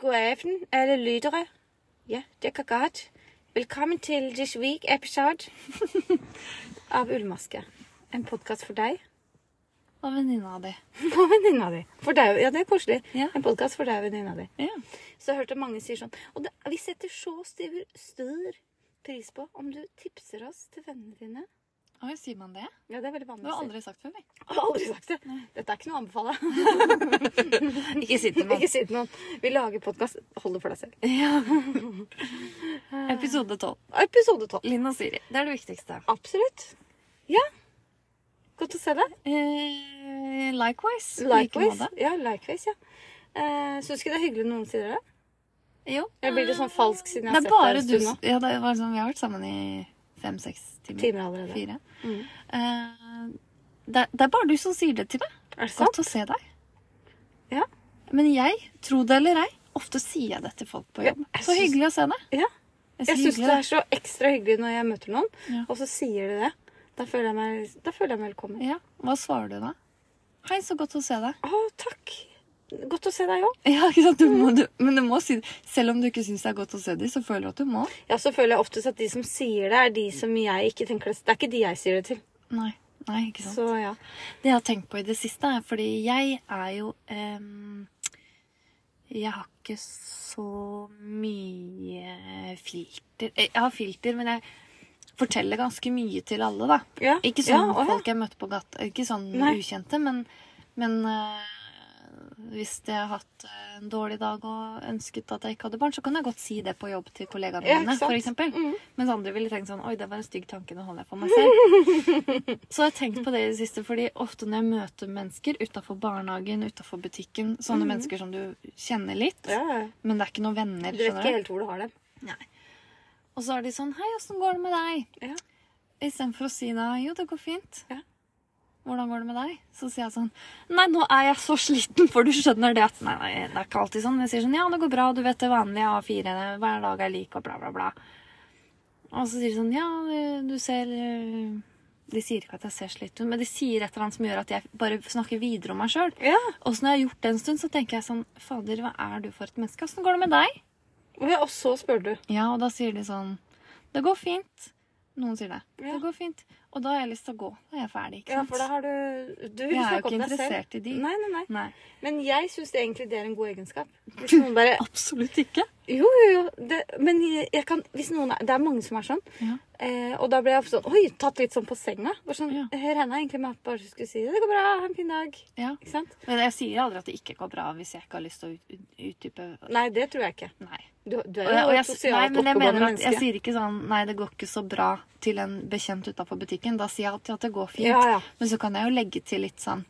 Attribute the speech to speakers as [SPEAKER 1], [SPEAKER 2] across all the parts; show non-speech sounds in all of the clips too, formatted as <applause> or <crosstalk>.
[SPEAKER 1] God aften, alle lyttere. Ja, det går godt. Velkommen til this week
[SPEAKER 2] <laughs>
[SPEAKER 1] episode av Ullmaske. En podkast for deg <laughs>
[SPEAKER 2] Og venninna di.
[SPEAKER 1] og venninna di. For deg, ja, det er koselig.
[SPEAKER 2] Ja.
[SPEAKER 1] En podkast for deg og venninna di.
[SPEAKER 2] Ja.
[SPEAKER 1] Så jeg hørte mange sier sånn Og det, vi setter så stor, stor pris på om du tipser oss til vennene dine.
[SPEAKER 2] Oi, sier man det?
[SPEAKER 1] Ja, det er veldig
[SPEAKER 2] Det
[SPEAKER 1] vanlig. å
[SPEAKER 2] har jeg
[SPEAKER 1] si.
[SPEAKER 2] aldri sagt før. vi.
[SPEAKER 1] <laughs> Jeg har aldri sagt det. Dette er ikke noe å anbefale.
[SPEAKER 2] <laughs> Ikke si til
[SPEAKER 1] <laughs> Ikke si til noen. Vi lager podkast. Hold det for deg selv.
[SPEAKER 2] <laughs> Episode 12.
[SPEAKER 1] Episode 12.
[SPEAKER 2] Linn og Siri. Det er det viktigste.
[SPEAKER 1] Absolutt. Ja. Godt å se deg.
[SPEAKER 2] Eh, likewise.
[SPEAKER 1] Likewise. Ja, likewise, ja. Uh, Syns ikke det er hyggelig når noen sier det?
[SPEAKER 2] Jo.
[SPEAKER 1] Jeg blir litt sånn falsk siden jeg
[SPEAKER 2] Det
[SPEAKER 1] har sett deg
[SPEAKER 2] er bare
[SPEAKER 1] en
[SPEAKER 2] du
[SPEAKER 1] stund nå.
[SPEAKER 2] som Ja, det var sånn, vi har vært sammen i fem-seks timer.
[SPEAKER 1] Timer allerede.
[SPEAKER 2] Fire.
[SPEAKER 1] Mm.
[SPEAKER 2] Eh, det, det er bare du som sier det til meg.
[SPEAKER 1] Er det sant?
[SPEAKER 2] Godt å se deg.
[SPEAKER 1] Ja.
[SPEAKER 2] Men jeg, tro det eller ei, ofte sier jeg det til folk på
[SPEAKER 1] Ja,
[SPEAKER 2] jobb.
[SPEAKER 1] jeg
[SPEAKER 2] Så
[SPEAKER 1] syns-
[SPEAKER 2] hyggelig å se deg.
[SPEAKER 1] Ja.
[SPEAKER 2] Jeg
[SPEAKER 1] Jeg
[SPEAKER 2] sier
[SPEAKER 1] syns
[SPEAKER 2] hyggelig,
[SPEAKER 1] det er så ekstra hyggelig når jeg møter noen,
[SPEAKER 2] Ja.
[SPEAKER 1] og så sier de det. Da føler jeg meg, da føler jeg meg velkommen.
[SPEAKER 2] Ja, Hva svarer du da? Hei, så godt å se deg.
[SPEAKER 1] Å, takk. Godt å se deg òg.
[SPEAKER 2] <laughs> Ja, ikke sant? Du må, du, men du må si det. Selv om du ikke syns det er godt å se dem, så føler du at du må.
[SPEAKER 1] Ja, så føler jeg oftest at de som sier det, er de som jeg ikke tenker det Det er ikke de jeg sier det til.
[SPEAKER 2] Nei, nei ikke sant?
[SPEAKER 1] Så ja.
[SPEAKER 2] Det jeg har tenkt på i det siste, er fordi jeg er jo em, Jeg har ikke så mye filter. Eh, Jeg har filter, men jeg forteller ganske mye til alle, da.
[SPEAKER 1] ja.
[SPEAKER 2] Ikke
[SPEAKER 1] ja,
[SPEAKER 2] sånn
[SPEAKER 1] å, ja.
[SPEAKER 2] folk jeg møtte på gata, ikke sånn
[SPEAKER 1] Nei.
[SPEAKER 2] ukjente, men, men eh, hvis jeg har hatt eh, en dårlig dag og ønsket at jeg ikke hadde barn, så kan jeg godt si det på jobb til kollegaene
[SPEAKER 1] Ja, ikke
[SPEAKER 2] mine,
[SPEAKER 1] sant?
[SPEAKER 2] for eksempel.
[SPEAKER 1] Mm.
[SPEAKER 2] Mens andre ville tenkt sånn Oi, det var en stygg tanke, nå holder jeg for meg selv.
[SPEAKER 1] <laughs>
[SPEAKER 2] så jeg har tenkt på det i det siste, fordi ofte når jeg møter mennesker utafor barnehagen, utafor butikken, sånne mennesker som du kjenner litt,
[SPEAKER 1] Mm. Ja, ja.
[SPEAKER 2] men det er ikke noen venner,
[SPEAKER 1] Du vet ikke
[SPEAKER 2] skjønner du.
[SPEAKER 1] helt hvor du har dem.
[SPEAKER 2] Og så er de sånn Hei, åssen går det med deg?
[SPEAKER 1] Ja.
[SPEAKER 2] Istedenfor å si da Jo, det går fint.
[SPEAKER 1] Ja.
[SPEAKER 2] Hvordan går det med deg? Så sier jeg sånn Nei, nå er jeg så sliten, for du skjønner det at Nei, nei, det er ikke alltid sånn. Men jeg sier sånn Ja, det går bra. Du vet det vanlige A4. Hver dag er lik, og bla, bla, bla. Og så sier de sånn Ja, du- du ser øh, De sier ikke at jeg ser slitt ut, men de sier et eller annet som gjør at jeg bare snakker videre om meg sjøl.
[SPEAKER 1] Ja.
[SPEAKER 2] Og så når jeg har gjort det en stund, så tenker jeg sånn Fader, hva er du for et menneske? Åssen går det med deg?
[SPEAKER 1] Og ja, og så spør du.
[SPEAKER 2] Ja, og da sier de sånn Det går fint. Noen sier det.
[SPEAKER 1] Ja.
[SPEAKER 2] Det går fint. Og da har jeg lyst til å gå. Da er jeg ferdig. ikke
[SPEAKER 1] Ja,
[SPEAKER 2] sant?
[SPEAKER 1] for da har du Du vil
[SPEAKER 2] Jeg er jo
[SPEAKER 1] snakke
[SPEAKER 2] ikke
[SPEAKER 1] om deg selv.
[SPEAKER 2] interessert i de.
[SPEAKER 1] Nei, nei, nei.
[SPEAKER 2] Nei.
[SPEAKER 1] Men jeg syns egentlig det er en god egenskap. Hvis noen bare
[SPEAKER 2] Absolutt ikke.
[SPEAKER 1] Jo, jo, jo. Det, men jeg, jeg kan, hvis noen er, det er mange som er sånn.
[SPEAKER 2] Ja.
[SPEAKER 1] Eh, og da ble jeg sånn, oi, tatt litt sånn på senga. Bare sånn,
[SPEAKER 2] Ja.
[SPEAKER 1] Jeg regna egentlig med at jeg bare skulle si det. Det går bra, ha en fin dag.
[SPEAKER 2] Ja.
[SPEAKER 1] Ikke sant?
[SPEAKER 2] Men jeg sier aldri at det ikke går bra hvis jeg ikke har lyst til å ut- ut- utdype
[SPEAKER 1] Nei, det tror jeg ikke.
[SPEAKER 2] Nei.
[SPEAKER 1] Du, du
[SPEAKER 2] Og
[SPEAKER 1] er jo
[SPEAKER 2] jeg, og
[SPEAKER 1] et
[SPEAKER 2] jeg, nei,
[SPEAKER 1] sosialt
[SPEAKER 2] men jeg mener
[SPEAKER 1] oppegående
[SPEAKER 2] at jeg
[SPEAKER 1] menneske.
[SPEAKER 2] sier ikke sånn Nei, det går ikke så bra til en bekjent utafor butikken. Da sier jeg alltid at det går fint.
[SPEAKER 1] Ja, ja.
[SPEAKER 2] Men så kan jeg jo legge til litt sånn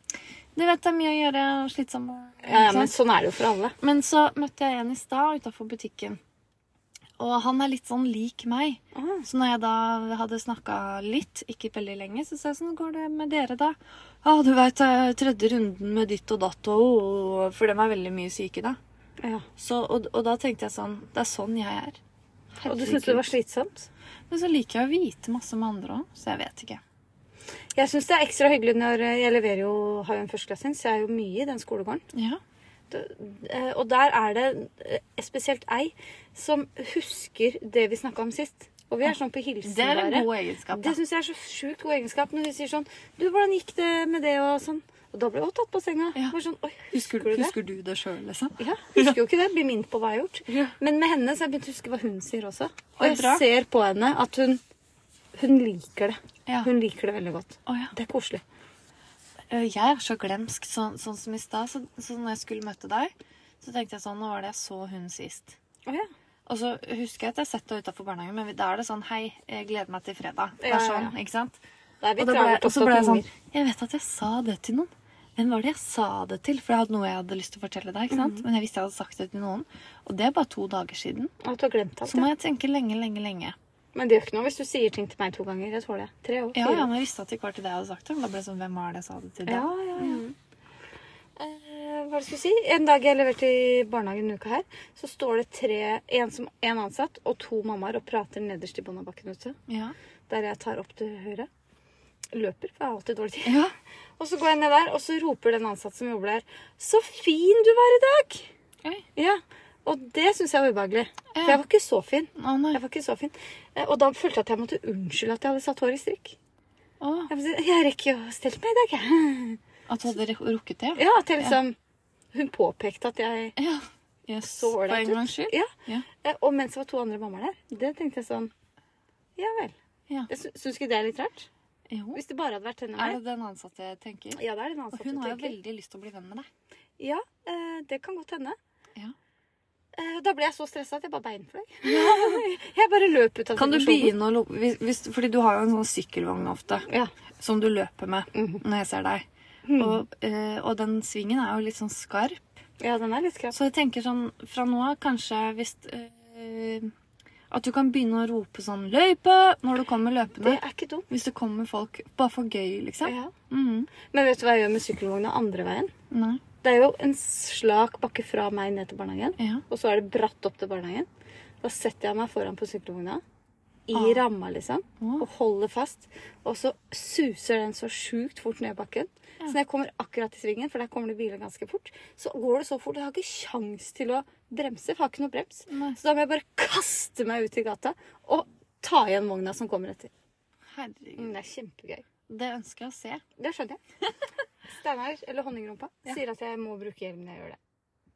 [SPEAKER 2] Du vet det er mye å gjøre, slitsom
[SPEAKER 1] Ja, ja, men sånn er det jo for alle.
[SPEAKER 2] Men så møtte jeg en i stad utafor butikken. Og han er litt sånn lik meg.
[SPEAKER 1] Ah.
[SPEAKER 2] Så når jeg da hadde snakka litt, ikke veldig lenge, så sa jeg sånn går det med dere, da? Ja, du veit, tredje runden med ditt og datt og og- For dem er veldig mye syke, da.
[SPEAKER 1] Ja.
[SPEAKER 2] Så, og, og da tenkte jeg sånn Det er sånn jeg er.
[SPEAKER 1] Og du syntes det var slitsomt?
[SPEAKER 2] Men så liker jeg å vite masse om andre òg, så jeg vet ikke.
[SPEAKER 1] Jeg syns det er ekstra hyggelig når eh, jeg leverer jo, har jo en førsteklassing, så jeg er jo mye i den skolegården.
[SPEAKER 2] Ja.
[SPEAKER 1] Eh, Og der er det eh, spesielt ei som husker det vi snakka om sist. Og vi er sånn på hilsen.
[SPEAKER 2] Det er en
[SPEAKER 1] bare.
[SPEAKER 2] god egenskap, da.
[SPEAKER 1] Det syns jeg er så sjukt god egenskap når hun sier sånn Du, hvordan gikk det med det og sånn? Og da ble hun tatt på senga.
[SPEAKER 2] Ja.
[SPEAKER 1] Bare sånn, Oi,
[SPEAKER 2] Husker,
[SPEAKER 1] husker du det?
[SPEAKER 2] husker du det sjøl, liksom?
[SPEAKER 1] Ja, husker jo ikke det. Blir minnet på hva jeg har gjort.
[SPEAKER 2] Ja.
[SPEAKER 1] Men med henne så har jeg begynt å huske hva hun sier også. Og
[SPEAKER 2] Oi,
[SPEAKER 1] jeg
[SPEAKER 2] bra.
[SPEAKER 1] ser på henne at hun hun liker det.
[SPEAKER 2] Ja.
[SPEAKER 1] Hun liker det veldig godt.
[SPEAKER 2] Å, ja.
[SPEAKER 1] Det er koselig.
[SPEAKER 2] Øh, Jeg er så glemsk, sånn, sånn som i stad. Så, så når jeg skulle møte deg, så tenkte jeg sånn Nå var det jeg så hun sist.
[SPEAKER 1] Å ja.
[SPEAKER 2] Og så husker jeg at jeg har sett deg utafor barnehagen, men da er det sånn Hei, jeg gleder meg til fredag. Det
[SPEAKER 1] Ja,
[SPEAKER 2] er
[SPEAKER 1] ja,
[SPEAKER 2] sånn,
[SPEAKER 1] ja.
[SPEAKER 2] ikke sant?
[SPEAKER 1] Da er vi
[SPEAKER 2] Og da ble, jeg-
[SPEAKER 1] travelt
[SPEAKER 2] og så ble
[SPEAKER 1] opptatt
[SPEAKER 2] jeg sånn
[SPEAKER 1] unger.
[SPEAKER 2] Jeg vet at jeg sa det til noen. Hvem var det jeg sa det til? For jeg hadde noe jeg hadde lyst til å fortelle deg. ikke sant?
[SPEAKER 1] Mhm.
[SPEAKER 2] Men jeg visste jeg hadde sagt det til noen. Og det er bare to dager siden.
[SPEAKER 1] At du har glemt alt.
[SPEAKER 2] Så må
[SPEAKER 1] Ja.
[SPEAKER 2] jeg tenke lenge, lenge, lenge.
[SPEAKER 1] Men det gjør ikke noe hvis du sier ting til meg to ganger. Jeg tåler det. Tre og
[SPEAKER 2] Ja,
[SPEAKER 1] fire.
[SPEAKER 2] ja, men jeg visste at det ikke var til det jeg hadde sagt det. Men da ble det sånn Hvem var det jeg sa det til? da?
[SPEAKER 1] Ja, ja, ja. Eh, hva skal jeg si? En dag jeg leverte i barnehagen denne uka her, så står det tre, en, som, en ansatt og to mammaer og prater nederst i bånn av bakken ute.
[SPEAKER 2] ja.
[SPEAKER 1] der jeg tar opp til høyre. Løper, for jeg har alltid dårlig tid.
[SPEAKER 2] Ja.
[SPEAKER 1] Og så går jeg ned der, og så roper den ansatte som jobber der, 'Så fin du var i dag!'
[SPEAKER 2] Oi.
[SPEAKER 1] Ja, Og det syns jeg var ubehagelig. For
[SPEAKER 2] Ja.
[SPEAKER 1] jeg var ikke så fin.
[SPEAKER 2] Å nei.
[SPEAKER 1] Jeg var ikke så fin. Eh, Og da følte jeg at jeg måtte unnskylde at jeg hadde satt hår i strikk.
[SPEAKER 2] Å,
[SPEAKER 1] Jeg, måtte si, jeg rekker jo å stelle meg i dag, jeg. <laughs>
[SPEAKER 2] at du hadde ruk- rukket det?
[SPEAKER 1] Ja, at jeg liksom Hun påpekte at jeg
[SPEAKER 2] Ja. Yes.
[SPEAKER 1] så
[SPEAKER 2] For
[SPEAKER 1] ålreit
[SPEAKER 2] en
[SPEAKER 1] ut.
[SPEAKER 2] gangs skyld.
[SPEAKER 1] Ja.
[SPEAKER 2] Ja.
[SPEAKER 1] Eh, Og mens det var to andre mammaer der, det tenkte jeg sånn Ja vel.
[SPEAKER 2] Ja.
[SPEAKER 1] Jeg sy- Syns ikke det er litt rart?
[SPEAKER 2] Jo.
[SPEAKER 1] Hvis det bare hadde vært henne
[SPEAKER 2] Er
[SPEAKER 1] og
[SPEAKER 2] det den ansatte jeg tenker?
[SPEAKER 1] meg. Ja, det er den ansatte.
[SPEAKER 2] Hun har jo
[SPEAKER 1] tenker jeg.
[SPEAKER 2] veldig lyst til å bli venn med deg.
[SPEAKER 1] Ja, eh, det kan godt hende.
[SPEAKER 2] Ja.
[SPEAKER 1] Eh, Da ble jeg så stressa at jeg bare beinfløy. <laughs> jeg bare løp ut av
[SPEAKER 2] Kan du
[SPEAKER 1] situasjonen.
[SPEAKER 2] begynne å lo- hvis, hvis, Fordi du har jo en sånn sykkelvogn ofte
[SPEAKER 1] Ja.
[SPEAKER 2] som du løper med når jeg ser deg. Og, eh, og den svingen er jo litt sånn skarp.
[SPEAKER 1] ja, den er litt skrap.
[SPEAKER 2] Så jeg tenker sånn fra nå av kanskje hvis eh, At du kan begynne å rope sånn 'løype' når du kommer
[SPEAKER 1] Det
[SPEAKER 2] løpende.
[SPEAKER 1] er ikke dumt.
[SPEAKER 2] Hvis det kommer folk bare for gøy, liksom.
[SPEAKER 1] Ja.
[SPEAKER 2] Mhm.
[SPEAKER 1] Men vet du hva jeg gjør med sykkelvogna andre veien?
[SPEAKER 2] Nei.
[SPEAKER 1] Det er jo en slak bakke fra meg ned til barnehagen.
[SPEAKER 2] Ja.
[SPEAKER 1] Og så er det bratt opp til barnehagen. Da setter jeg meg foran på sykkelvogna. I
[SPEAKER 2] Ah.
[SPEAKER 1] ramma, liksom.
[SPEAKER 2] Ah.
[SPEAKER 1] Og holder fast. Og så suser den så sjukt fort ned bakken. Så når jeg kommer akkurat i svingen, for der kommer det biler ganske fort, så går det så fort. Jeg har ikke kjangs til å bremse, for jeg har ikke noe brems.
[SPEAKER 2] Nei.
[SPEAKER 1] Så da må jeg bare kaste meg ut i gata og ta igjen vogna som kommer etter.
[SPEAKER 2] Herregud.
[SPEAKER 1] Mm, Det er kjempegøy.
[SPEAKER 2] Det ønsker jeg å se.
[SPEAKER 1] Det skjønner <laughs> jeg. Steinar, eller Honningrumpa,
[SPEAKER 2] Ja.
[SPEAKER 1] sier at jeg må bruke hjelm når jeg gjør det.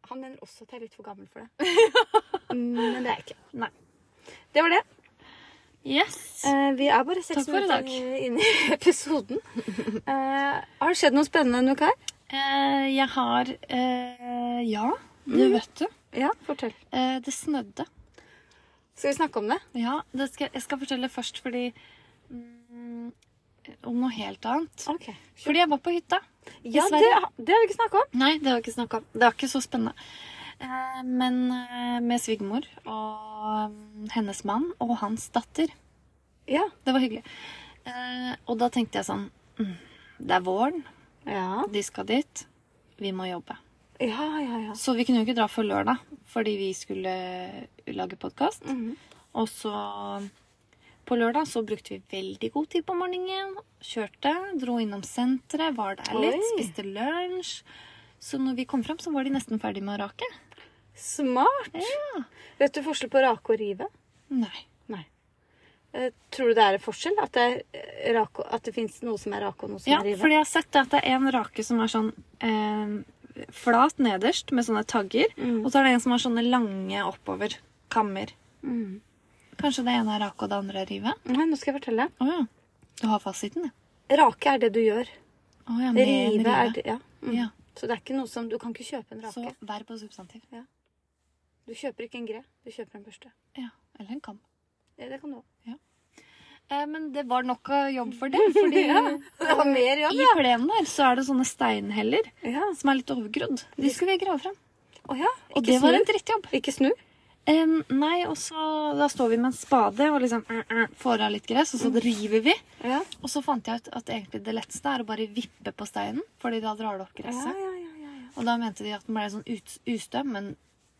[SPEAKER 1] Han mener også at jeg er litt for gammel for det. <laughs> Mm, Men det er jeg ikke.
[SPEAKER 2] Nei.
[SPEAKER 1] Det var det.
[SPEAKER 2] Yes.
[SPEAKER 1] Eh, Vi er bare
[SPEAKER 2] Takk
[SPEAKER 1] seks
[SPEAKER 2] for i dag.
[SPEAKER 1] minutter inn i <laughs> episoden. Eh, har det skjedd noe spennende denne uka her?
[SPEAKER 2] Eh, jeg har eh, Ja, det vet du.
[SPEAKER 1] Ja, fortell.
[SPEAKER 2] Eh, det snødde.
[SPEAKER 1] Skal vi snakke om det?
[SPEAKER 2] Ja, det skal, jeg skal fortelle først fordi mm, Om noe helt annet.
[SPEAKER 1] Ok.
[SPEAKER 2] Fordi jeg var på hytta.
[SPEAKER 1] Ja, det, det
[SPEAKER 2] Sverige.
[SPEAKER 1] har vi ikke snakka om.
[SPEAKER 2] Nei, det har vi ikke snakka om. Det var ikke så spennende. Eh, men eh, med svigermor og mm, hennes mann og hans datter.
[SPEAKER 1] Ja.
[SPEAKER 2] Det var hyggelig. Eh, og da tenkte jeg sånn mm, Det er våren.
[SPEAKER 1] Ja,
[SPEAKER 2] De skal dit. Vi må jobbe.
[SPEAKER 1] ja, ja. ja.
[SPEAKER 2] Så vi kunne jo ikke dra før lørdag fordi vi skulle lage podkast.
[SPEAKER 1] Mhm.
[SPEAKER 2] Og så på lørdag så brukte vi veldig god tid på morgenen. Kjørte, dro innom senteret, var der litt,
[SPEAKER 1] Oi.
[SPEAKER 2] spiste lunsj. Så når vi kom fram, så var de nesten ferdig med å rake.
[SPEAKER 1] Smart. Vet du forskjell på rake og rive?
[SPEAKER 2] Nei.
[SPEAKER 1] Nei. Eh, tror du det er en forskjell? At det, er rake, at det fins noe som er rake, og noe som
[SPEAKER 2] Ja,
[SPEAKER 1] er rive?
[SPEAKER 2] fordi jeg har sett det at det er en rake som er sånn eh, flat nederst med sånne tagger,
[SPEAKER 1] Mm.
[SPEAKER 2] og så er det en som har sånne lange oppover kammer.
[SPEAKER 1] Mm.
[SPEAKER 2] Kanskje det ene er rake og det andre er rive?
[SPEAKER 1] Nei, nå skal jeg fortelle.
[SPEAKER 2] Å ja. Du har fasiten, ja.
[SPEAKER 1] Rake er det du gjør.
[SPEAKER 2] Å ja, med en
[SPEAKER 1] Rive er det Ja. Mm.
[SPEAKER 2] Ja.
[SPEAKER 1] Så det er ikke noe som Du kan ikke kjøpe en
[SPEAKER 2] Så
[SPEAKER 1] rake.
[SPEAKER 2] verb og substantiv.
[SPEAKER 1] Du kjøper ikke en gre. Du kjøper en børste.
[SPEAKER 2] Ja. Eller en kam.
[SPEAKER 1] Det, det kan du òg.
[SPEAKER 2] Eh, men det var nok av jobb for det. Fordi
[SPEAKER 1] <laughs> Det var mer jobb,
[SPEAKER 2] i
[SPEAKER 1] ja.
[SPEAKER 2] plenen der så er det sånne steinheller
[SPEAKER 1] ja.
[SPEAKER 2] som er litt overgrodd. De skulle vi grave fram.
[SPEAKER 1] Å ja.
[SPEAKER 2] Og
[SPEAKER 1] Ikke
[SPEAKER 2] det var
[SPEAKER 1] snu.
[SPEAKER 2] en drittjobb.
[SPEAKER 1] Ikke snu.
[SPEAKER 2] Em, Eh, nei, og så da står vi med en spade og liksom eh, eh, får av litt gress, og så river vi.
[SPEAKER 1] Ja.
[SPEAKER 2] Og så fant jeg ut at egentlig det letteste er å bare vippe på steinen, fordi da drar det opp
[SPEAKER 1] Ja,
[SPEAKER 2] gresset.
[SPEAKER 1] ja, ja, ja, ja.
[SPEAKER 2] Og da mente de at den ble sånn ut, ustø, men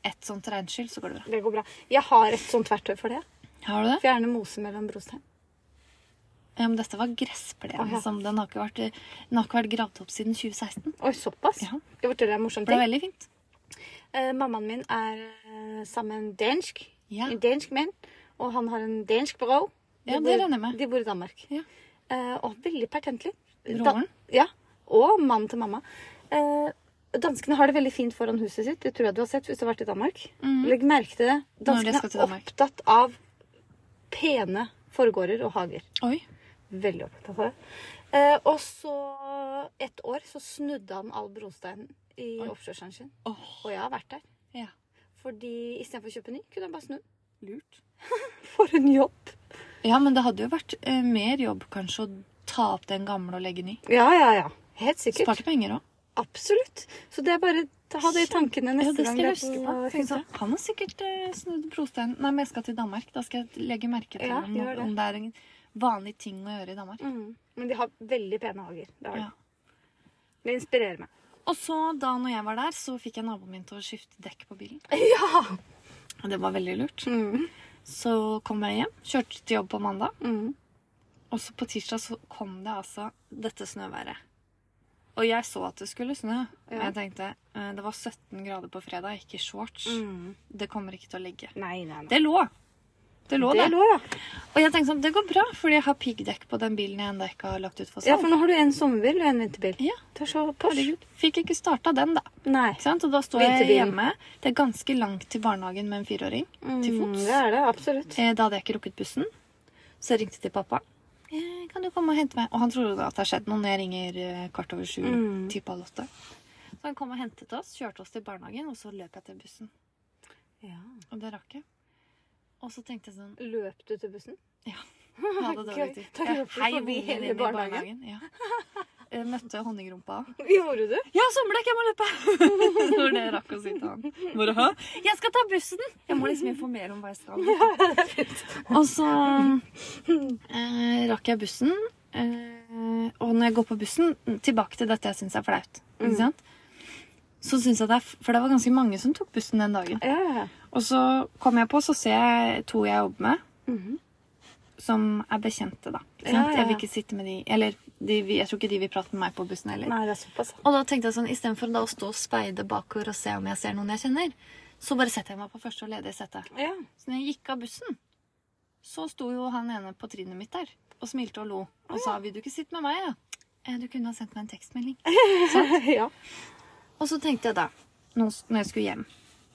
[SPEAKER 2] ett sånt regnskyll, så går det bra.
[SPEAKER 1] Det går bra. Jeg har et sånt verktøy for det.
[SPEAKER 2] Har du det?
[SPEAKER 1] Fjerne mose mellom brostein.
[SPEAKER 2] Ja, men dette var gressplenen
[SPEAKER 1] Å, ja.
[SPEAKER 2] som den har ikke vært, den har ikke vært gravd opp siden 2016.
[SPEAKER 1] Oi, såpass?
[SPEAKER 2] Ja.
[SPEAKER 1] Skal jeg fortelle deg en morsom
[SPEAKER 2] Det ble
[SPEAKER 1] ting?
[SPEAKER 2] veldig fint.
[SPEAKER 1] Eh, mammaen min er eh, sammen med en dansk.
[SPEAKER 2] Ja.
[SPEAKER 1] En dansk menn. Og han har en dansk bro. De
[SPEAKER 2] Ja, det
[SPEAKER 1] bor-
[SPEAKER 2] regner jeg med.
[SPEAKER 1] De bor i Danmark.
[SPEAKER 2] Ja.
[SPEAKER 1] Eh, og veldig pertentlig.
[SPEAKER 2] Broren?
[SPEAKER 1] ja. Og mannen til mamma. Eh, danskene har det veldig fint foran huset sitt. Det tror jeg du har sett hvis du har vært i Danmark. Legg merke til det.
[SPEAKER 2] Når Mhm. jeg
[SPEAKER 1] Danskene
[SPEAKER 2] skal til
[SPEAKER 1] er
[SPEAKER 2] Danmark.
[SPEAKER 1] opptatt av pene forgårder og hager.
[SPEAKER 2] Oi.
[SPEAKER 1] Veldig opptatt av det. Eh, og så et år så snudde han all brosteinen i
[SPEAKER 2] Oi.
[SPEAKER 1] offshoresjøen sin.
[SPEAKER 2] Åh.
[SPEAKER 1] Og jeg har vært der.
[SPEAKER 2] Ja.
[SPEAKER 1] Fordi istedenfor å kjøpe ny, kunne jeg bare snu.
[SPEAKER 2] Lurt.
[SPEAKER 1] For en jobb!
[SPEAKER 2] Ja, men det hadde jo vært eh, mer jobb kanskje å ta opp den gamle og legge ny.
[SPEAKER 1] Ja, ja, ja. Helt sikkert.
[SPEAKER 2] Sparte penger òg.
[SPEAKER 1] Absolutt. Så det er bare å ha det i tankene
[SPEAKER 2] Ja,
[SPEAKER 1] neste
[SPEAKER 2] det skal
[SPEAKER 1] gang.
[SPEAKER 2] jeg
[SPEAKER 1] du er
[SPEAKER 2] huske på. Tenk
[SPEAKER 1] hytta.
[SPEAKER 2] sånn, Han har sikkert eh, snudd brosteinen. Nei, men jeg skal til Danmark. Da skal jeg legge merke til
[SPEAKER 1] Ja,
[SPEAKER 2] om,
[SPEAKER 1] gjør det.
[SPEAKER 2] om det er en vanlig ting å gjøre i Danmark.
[SPEAKER 1] Mm. Men de har veldig pene hager. Det, har de.
[SPEAKER 2] Ja.
[SPEAKER 1] det inspirerer meg.
[SPEAKER 2] Og så, da når jeg var der, så fikk jeg naboen min til å skifte dekk på bilen.
[SPEAKER 1] <laughs> Ja!
[SPEAKER 2] Og det var veldig lurt.
[SPEAKER 1] Mm.
[SPEAKER 2] Så kom jeg hjem. Kjørte til jobb på mandag.
[SPEAKER 1] Mm.
[SPEAKER 2] Og så på tirsdag så kom det altså dette snøværet. Og jeg så at det skulle snø. Og
[SPEAKER 1] Ja.
[SPEAKER 2] jeg tenkte eh, det var 17 grader på fredag, ikke shorts. Det kommer ikke til å ligge.
[SPEAKER 1] Mm. Nei, nei, nei.
[SPEAKER 2] Det lå. Det lå
[SPEAKER 1] Det
[SPEAKER 2] der.
[SPEAKER 1] lå, ja.
[SPEAKER 2] Og jeg tenkte sånn, det går bra, fordi jeg har piggdekk på den bilen jeg ennå ikke har lagt ut for
[SPEAKER 1] Ja,
[SPEAKER 2] salg.
[SPEAKER 1] for nå har du en sommerbil og en vinterbil.
[SPEAKER 2] Ja.
[SPEAKER 1] Det er så Porsche.
[SPEAKER 2] Herregud. Fikk ikke starta den, da.
[SPEAKER 1] Nei.
[SPEAKER 2] Ikke sant? Og da står jeg
[SPEAKER 1] Vinterbilen.
[SPEAKER 2] hjemme. Det er ganske langt til barnehagen med en fireåring. Til
[SPEAKER 1] Mm,
[SPEAKER 2] fots.
[SPEAKER 1] det er det, absolutt.
[SPEAKER 2] Eh, Da hadde jeg ikke rukket bussen. Så jeg ringte til pappa. Eh, Kan du komme og hente meg? Og han trodde at det har skjedd noe når jeg ringer eh, kvart over sju.
[SPEAKER 1] Mm.
[SPEAKER 2] Typ halv åtte. Så han kom og hentet oss, kjørte oss til barnehagen, og så løp jeg til bussen.
[SPEAKER 1] Ja.
[SPEAKER 2] Og det rakk jeg. Og så tenkte jeg sånn
[SPEAKER 1] Løp du til bussen?
[SPEAKER 2] jeg hadde dårlig
[SPEAKER 1] Gøy.
[SPEAKER 2] tid.
[SPEAKER 1] Da
[SPEAKER 2] Jeg
[SPEAKER 1] løp du
[SPEAKER 2] heiv
[SPEAKER 1] forbi
[SPEAKER 2] ungen
[SPEAKER 1] hele
[SPEAKER 2] inn i
[SPEAKER 1] barnehagen.
[SPEAKER 2] barnehagen, Ja. Eh, Møtte honningrumpa.
[SPEAKER 1] <laughs> Gjorde du?
[SPEAKER 2] Ja, sommerdekk, jeg må løpe! <laughs> Når det rakk å si til han. Bare, hæ? Jeg skal ta bussen! Jeg må liksom informere om hva jeg skal. Og så eh, rakk jeg bussen. Eh, og når jeg går på bussen, tilbake til dette jeg syns er flaut. Ikke sant? Så synes jeg det er, f- For det var ganske mange som tok bussen den dagen.
[SPEAKER 1] Ja, ja.
[SPEAKER 2] Og så kom jeg på, så ser jeg to jeg jobber med,
[SPEAKER 1] Mhm.
[SPEAKER 2] som er bekjente, da. Ikke sant?
[SPEAKER 1] Ja, ja, ja.
[SPEAKER 2] Jeg vil ikke sitte med de Eller de, vil- jeg tror ikke de vil prate med meg på bussen heller.
[SPEAKER 1] Nei, det er såpass. altså.
[SPEAKER 2] Og da tenkte jeg sånn, istedenfor da å stå og speide bakover og se om jeg ser noen jeg kjenner, så bare setter jeg meg på første og ledige sette.
[SPEAKER 1] Ja. <laughs>
[SPEAKER 2] Så når jeg gikk av bussen, så sto jo han ene på trinnet mitt der og smilte og lo. Og sa 'Vil du ikke sitte med meg', da? «Eh, Du kunne ha sendt meg en tekstmelding.
[SPEAKER 1] ja.
[SPEAKER 2] Og så tenkte jeg da, nå s- når jeg skulle hjem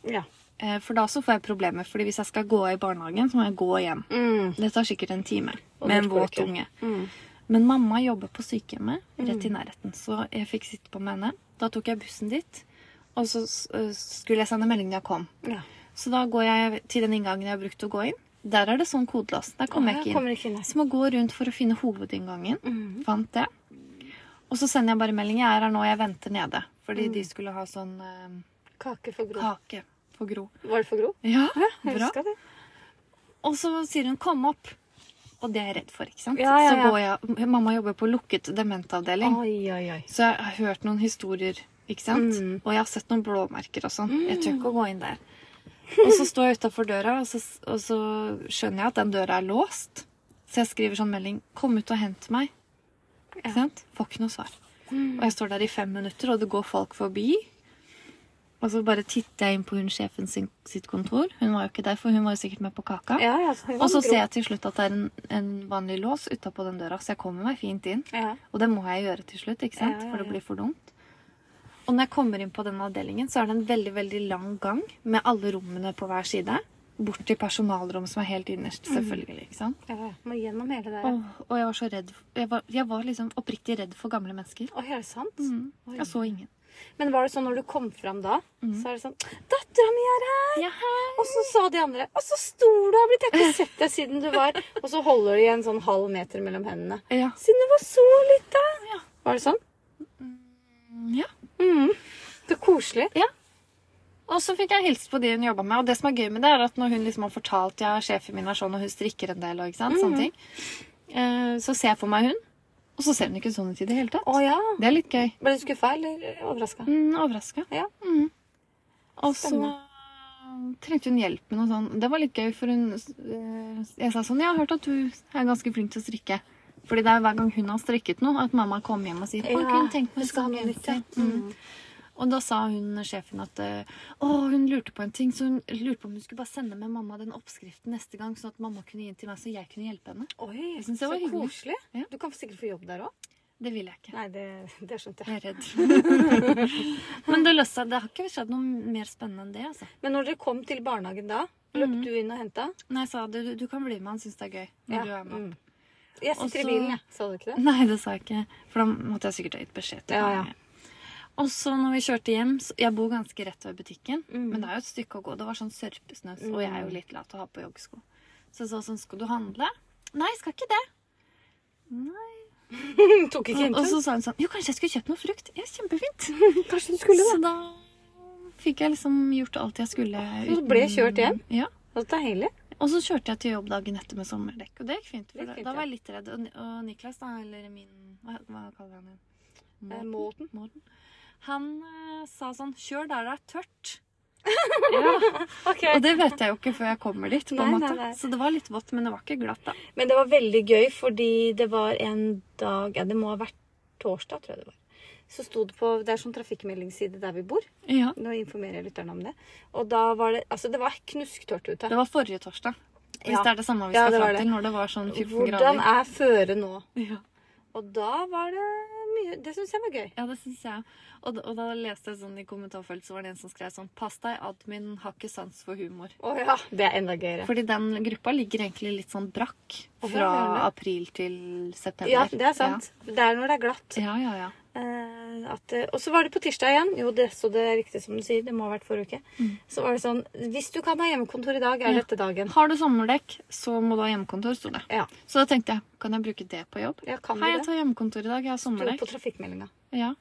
[SPEAKER 1] ja.
[SPEAKER 2] eh, For da så får jeg problemer, fordi hvis jeg skal gå i barnehagen, så må jeg gå hjem.
[SPEAKER 1] Mm.
[SPEAKER 2] Det tar sikkert en time
[SPEAKER 1] Og
[SPEAKER 2] med
[SPEAKER 1] det
[SPEAKER 2] en
[SPEAKER 1] går
[SPEAKER 2] våt
[SPEAKER 1] ikke.
[SPEAKER 2] unge.
[SPEAKER 1] Mm.
[SPEAKER 2] Men mamma jobber på sykehjemmet rett i nærheten, så jeg fikk sitte på med henne. Da tok jeg bussen dit, og så s- øh, skulle jeg sende melding da jeg kom.
[SPEAKER 1] ja.
[SPEAKER 2] Så da går jeg til den inngangen jeg har brukt å gå inn. Der er det sånn kodelås. Der kommer jeg
[SPEAKER 1] Her
[SPEAKER 2] ikke inn. Mm.
[SPEAKER 1] Kommer ikke inn. altså.
[SPEAKER 2] Så må jeg gå rundt for å finne hovedinngangen.
[SPEAKER 1] Mhm.
[SPEAKER 2] Fant det. Og så sender jeg bare melding. Jeg er her nå, jeg venter nede. Fordi
[SPEAKER 1] Mm.
[SPEAKER 2] de skulle ha sånn øh,
[SPEAKER 1] Kake for Gro.
[SPEAKER 2] kake for Gro.
[SPEAKER 1] Var det for Gro?
[SPEAKER 2] Ja,
[SPEAKER 1] Jeg
[SPEAKER 2] bra.
[SPEAKER 1] husker det.
[SPEAKER 2] Og så sier hun 'kom opp'. Og det er jeg redd for, ikke sant?
[SPEAKER 1] Ja, ja,
[SPEAKER 2] Så
[SPEAKER 1] ja.
[SPEAKER 2] går jeg, Mamma jobber på lukket dementavdeling.
[SPEAKER 1] Oi, oi, oi.
[SPEAKER 2] Så jeg har hørt noen historier, ikke sant?
[SPEAKER 1] Mm.
[SPEAKER 2] Og jeg har sett noen blåmerker og sånn. Jeg tør ikke å
[SPEAKER 1] <laughs>
[SPEAKER 2] gå inn der. Og så står jeg utafor døra, og så, og så skjønner jeg at den døra er låst. Så jeg skriver sånn melding 'Kom ut og hent meg'. Ikke sant? Får ikke noe svar.
[SPEAKER 1] Mm.
[SPEAKER 2] Og jeg står der i fem minutter, og det går folk forbi. Og så bare titter jeg inn på hun sjefen sin, sitt kontor. Hun var jo ikke der, for hun var jo sikkert med på kaka.
[SPEAKER 1] Ja, ja. så hun var
[SPEAKER 2] Og så
[SPEAKER 1] Gro.
[SPEAKER 2] ser jeg til slutt at det er en, en vanlig lås utapå den døra, så jeg kommer meg fint inn.
[SPEAKER 1] Ja.
[SPEAKER 2] Og det må jeg gjøre til slutt, ikke sant?
[SPEAKER 1] Ja, ja,
[SPEAKER 2] for det
[SPEAKER 1] ja.
[SPEAKER 2] blir for dumt. Og når jeg kommer inn på denne avdelingen, så er det en veldig veldig lang gang med alle rommene på hver side. Bort til personalrom som er helt innerst, selvfølgelig. ikke sant?
[SPEAKER 1] Ja, Mm. ja. Må gjennom hele det.
[SPEAKER 2] Og, og jeg var så redd jeg var, jeg var liksom oppriktig redd for gamle mennesker.
[SPEAKER 1] Oi, er det sant? Oi.
[SPEAKER 2] Jeg så ingen.
[SPEAKER 1] Men var det sånn når du kom fram da,
[SPEAKER 2] Mm.
[SPEAKER 1] så er det sånn 'Dattera mi er her!'
[SPEAKER 2] Ja, hei.
[SPEAKER 1] Og så sa de andre 'Å, så stor du har blitt! Jeg har ikke sett deg siden du var Og så holder de en sånn halv meter mellom hendene.
[SPEAKER 2] Ja.
[SPEAKER 1] 'Siden du var så lita!'
[SPEAKER 2] Ja.
[SPEAKER 1] Var det sånn?
[SPEAKER 2] ja.
[SPEAKER 1] Mhm. Så koselig.
[SPEAKER 2] Og så fikk jeg hilst på de hun jobba med. Og det som er gøy med det, er at når hun liksom har fortalt ja, sjefen min er sånn, og hun strikker en del, og ikke sant,
[SPEAKER 1] Mm.
[SPEAKER 2] sånne ting, eh, så ser jeg for meg hun, og så ser hun ikke sånn ut i det hele tatt.
[SPEAKER 1] Å ja.
[SPEAKER 2] Det er litt gøy.
[SPEAKER 1] Ble du skuffa eller overraska?
[SPEAKER 2] Mm, Overraska.
[SPEAKER 1] Ja.
[SPEAKER 2] Mm. Og så
[SPEAKER 1] Spennende.
[SPEAKER 2] trengte hun hjelp med noe sånt. Det var litt gøy, for hun eh, Jeg sa sånn Jeg har hørt at du er ganske flink til å strikke. Fordi det er hver gang hun har strikket noe, at mamma kommer hjem og sier Å, kunne tenkt
[SPEAKER 1] du
[SPEAKER 2] meg å
[SPEAKER 1] skal ha
[SPEAKER 2] strikke
[SPEAKER 1] noe
[SPEAKER 2] en
[SPEAKER 1] nytt, ja.
[SPEAKER 2] til». Mm. Og da sa hun sjefen at eh, å, hun lurte på en ting, så hun lurte på om hun skulle bare sende med mamma den oppskriften neste gang, sånn at mamma kunne gi den til meg, så jeg kunne hjelpe henne.
[SPEAKER 1] Oi,
[SPEAKER 2] Jeg synes det var
[SPEAKER 1] så
[SPEAKER 2] hyggelig.
[SPEAKER 1] koselig.
[SPEAKER 2] Ja.
[SPEAKER 1] Du kan sikkert få jobb der òg.
[SPEAKER 2] Det vil jeg ikke.
[SPEAKER 1] Nei, det, det skjønte jeg.
[SPEAKER 2] Jeg er redd.
[SPEAKER 1] <laughs>
[SPEAKER 2] Men det løste seg. Det har ikke skjedd noe mer spennende enn det, altså.
[SPEAKER 1] Men når dere kom til barnehagen da, løp du inn og henta?
[SPEAKER 2] Nei, jeg sa du, du, du kan bli med, han syns det er gøy. Mhm. Når du er med.
[SPEAKER 1] Mm. Jeg sitter
[SPEAKER 2] Og så-
[SPEAKER 1] i bilen, jeg. Sa du ikke det?
[SPEAKER 2] Nei, det sa jeg ikke. For da måtte jeg sikkert ha gitt beskjed til
[SPEAKER 1] Ja, ja.
[SPEAKER 2] meg. Og så når vi kjørte hjem så, Jeg bor ganske rett ved butikken,
[SPEAKER 1] Mm.
[SPEAKER 2] men det er jo et stykke å gå. Det var sånn sørpesnø, så- og jeg er jo litt lat og har på joggesko. Så jeg sa sånn Skal du handle? Nei, jeg skal ikke det.
[SPEAKER 1] <laughs> Tok ikke
[SPEAKER 2] Mhm, Og, og
[SPEAKER 1] hensyn.
[SPEAKER 2] så sa hun sånn Jo, kanskje jeg skulle kjøpt noe frukt? Ja, kjempefint.
[SPEAKER 1] Kanskje du skulle
[SPEAKER 2] Så
[SPEAKER 1] det.
[SPEAKER 2] da fikk jeg liksom gjort alt jeg skulle.
[SPEAKER 1] Så du ble kjørt hjem?
[SPEAKER 2] Ja.
[SPEAKER 1] Så deilig.
[SPEAKER 2] Og så kjørte jeg til jobb dagen etter med sommerdekk, og det gikk fint.
[SPEAKER 1] Det
[SPEAKER 2] For
[SPEAKER 1] gikk fint,
[SPEAKER 2] da var jeg litt redd. Og, og Niklas, da, eller min Hva, hva kaller han igjen?
[SPEAKER 1] Eh, Måten.
[SPEAKER 2] Morten. Han eh, sa sånn Kjør der det er tørt.
[SPEAKER 1] Ok.
[SPEAKER 2] Og det vet jeg jo ikke før jeg kommer dit. på en
[SPEAKER 1] Nei, nei,
[SPEAKER 2] måte.
[SPEAKER 1] nei.
[SPEAKER 2] Så det var litt vått, men det var ikke glatt. da.
[SPEAKER 1] Men det var veldig gøy, fordi det var en dag Ja, det må ha vært torsdag, tror jeg det var. Så sto det på Det er sånn trafikkmeldingsside der vi bor.
[SPEAKER 2] Ja.
[SPEAKER 1] Nå informerer jeg lytterne om det. Og da var det Altså, det var knusktørt ute.
[SPEAKER 2] Det var forrige torsdag. Hvis
[SPEAKER 1] Ja.
[SPEAKER 2] det er det samme vi
[SPEAKER 1] Ja,
[SPEAKER 2] skal
[SPEAKER 1] det var
[SPEAKER 2] fram
[SPEAKER 1] det.
[SPEAKER 2] til, når det var sånn 14
[SPEAKER 1] Hvordan
[SPEAKER 2] grader.
[SPEAKER 1] er føret nå?
[SPEAKER 2] Ja.
[SPEAKER 1] Og da var det mye Det syns jeg var gøy.
[SPEAKER 2] Ja, det syns jeg. Og, da- og da leste jeg sånn i kommentarfeltet, så var det en som skrev sånn Pass deg, admin har ikke sans for humor.
[SPEAKER 1] Å ja. Det er enda gøyere.
[SPEAKER 2] Fordi den gruppa ligger egentlig litt sånn brakk
[SPEAKER 1] Å,
[SPEAKER 2] fra
[SPEAKER 1] ja, ja.
[SPEAKER 2] april til september.
[SPEAKER 1] Ja, det er sant. Det er når det er glatt.
[SPEAKER 2] Ja, ja, ja.
[SPEAKER 1] Eh, at, det- og så var det på tirsdag igjen. Jo, det, så det er riktig som du sier. Det må ha vært forrige uke. Så var det sånn Hvis du kan ha hjemmekontor i dag, er
[SPEAKER 2] Mm. Ja.
[SPEAKER 1] dette dagen.
[SPEAKER 2] Har du sommerdekk, så må du ha hjemmekontor, sto det.
[SPEAKER 1] Ja.
[SPEAKER 2] Så da tenkte jeg, kan jeg bruke det på jobb?
[SPEAKER 1] ja kan
[SPEAKER 2] Hei,
[SPEAKER 1] du
[SPEAKER 2] jeg
[SPEAKER 1] det?
[SPEAKER 2] tar hjemmekontor i dag, jeg har
[SPEAKER 1] Sto det
[SPEAKER 2] sommerdekk.
[SPEAKER 1] på trafikkmeldinga.
[SPEAKER 2] Ja,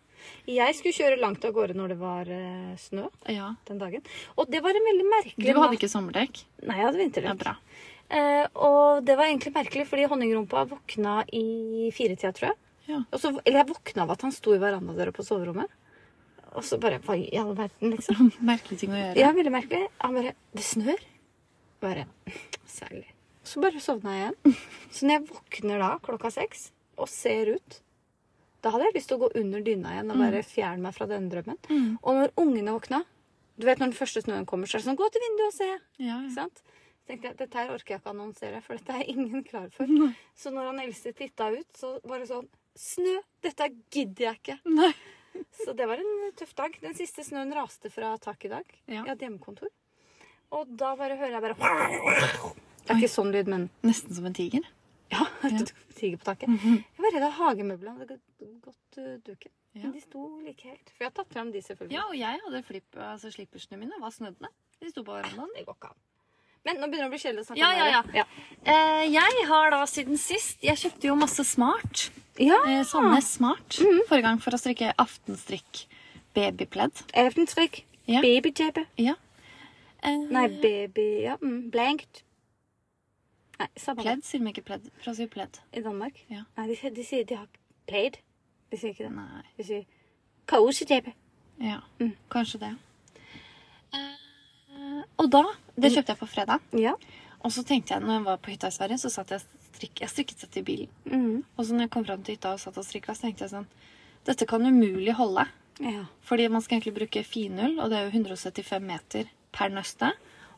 [SPEAKER 1] Jeg skulle kjøre langt av gårde når det var eh, snø
[SPEAKER 2] ja.
[SPEAKER 1] den dagen. Og det var en veldig merkelig
[SPEAKER 2] Du hadde ikke sommerdekk?
[SPEAKER 1] Nei, jeg hadde
[SPEAKER 2] Det er
[SPEAKER 1] vinterdekk.
[SPEAKER 2] bra. <laughs>
[SPEAKER 1] Eh, og det var egentlig merkelig, fordi honningrumpa våkna i firetida, tror jeg.
[SPEAKER 2] Ja.
[SPEAKER 1] Og så, eller jeg våkna av at han sto i verandadøra på soverommet. Og så bare Hva i all verden, liksom?
[SPEAKER 2] Merkelig ting å gjøre.
[SPEAKER 1] Ja, veldig merkelig. Han bare Det snør. Bare <laughs> Særlig. Så bare sovna jeg igjen. <laughs> Så når jeg våkner da klokka seks og ser ut Da hadde jeg lyst til å gå under dyna igjen og bare fjerne meg fra denne drømmen.
[SPEAKER 2] Mm.
[SPEAKER 1] Og når ungene våkna Du vet når den første snøen kommer, så er det sånn Gå til vinduet og se.
[SPEAKER 2] Ja,
[SPEAKER 1] <laughs> Ikke
[SPEAKER 2] ja.
[SPEAKER 1] sant? Så tenkte jeg, Dette her orker jeg ikke annonsere, for dette er ingen klar
[SPEAKER 2] <laughs>
[SPEAKER 1] for.
[SPEAKER 2] Nei.
[SPEAKER 1] Så når han eldste titta ut, så var det sånn Snø! Dette gidder jeg ikke.
[SPEAKER 2] Nei.
[SPEAKER 1] Så det var en tøff dag. Den siste snøen raste fra taket i dag.
[SPEAKER 2] Ja.
[SPEAKER 1] Jeg hadde hjemmekontor. Og da bare hører jeg bare Det er ikke sånn lyd, men
[SPEAKER 2] Nesten som en
[SPEAKER 1] <laughs>
[SPEAKER 2] tiger.
[SPEAKER 1] ja. Tiger på taket. Jeg var redd av hagemøblene hadde gått- gått uh, duken.
[SPEAKER 2] Ja.
[SPEAKER 1] Men de sto like helt. For jeg har tatt frem de, selvfølgelig.
[SPEAKER 2] Ja, og jeg hadde flipp, altså slippersene mine var snøddende. De sto på verandaen.
[SPEAKER 1] Det går ikke an. Men nå begynner det å bli kjedelig å snakke
[SPEAKER 2] Ja,
[SPEAKER 1] om
[SPEAKER 2] ja,
[SPEAKER 1] det. Ja.
[SPEAKER 2] Eh, jeg har da siden sist Jeg kjøpte jo masse smart.
[SPEAKER 1] ja.
[SPEAKER 2] Eh, Sandnes Smart.
[SPEAKER 1] Mhm.
[SPEAKER 2] Forrige gang for å strikke aftenstrikk babypledd.
[SPEAKER 1] Eventrykk.
[SPEAKER 2] Ja.
[SPEAKER 1] Babytape.
[SPEAKER 2] Ja. Eh,
[SPEAKER 1] Nei, baby Ja, mm, blankt. Nei, samme
[SPEAKER 2] Pledd sier de ikke pledd. For å si pledd.
[SPEAKER 1] det. I Danmark.
[SPEAKER 2] Ja.
[SPEAKER 1] Nei, de, de sier de har ikke plaid. De sier ikke det.
[SPEAKER 2] Nei.
[SPEAKER 1] De sier kosetape.
[SPEAKER 2] Ja,
[SPEAKER 1] Mm.
[SPEAKER 2] kanskje det. Eh, og da Det kjøpte jeg på fredag.
[SPEAKER 1] Ja.
[SPEAKER 2] Og så tenkte jeg, når jeg var på hytta i Sverige, så satt jeg strikk, jeg strikket seg til bilen.
[SPEAKER 1] Mm.
[SPEAKER 2] Og så når jeg kom fram til hytta og satt og strikka, så tenkte jeg sånn Dette kan umulig holde.
[SPEAKER 1] Ja.
[SPEAKER 2] Fordi man skal egentlig bruke finull, og det er jo 175 meter per nøste.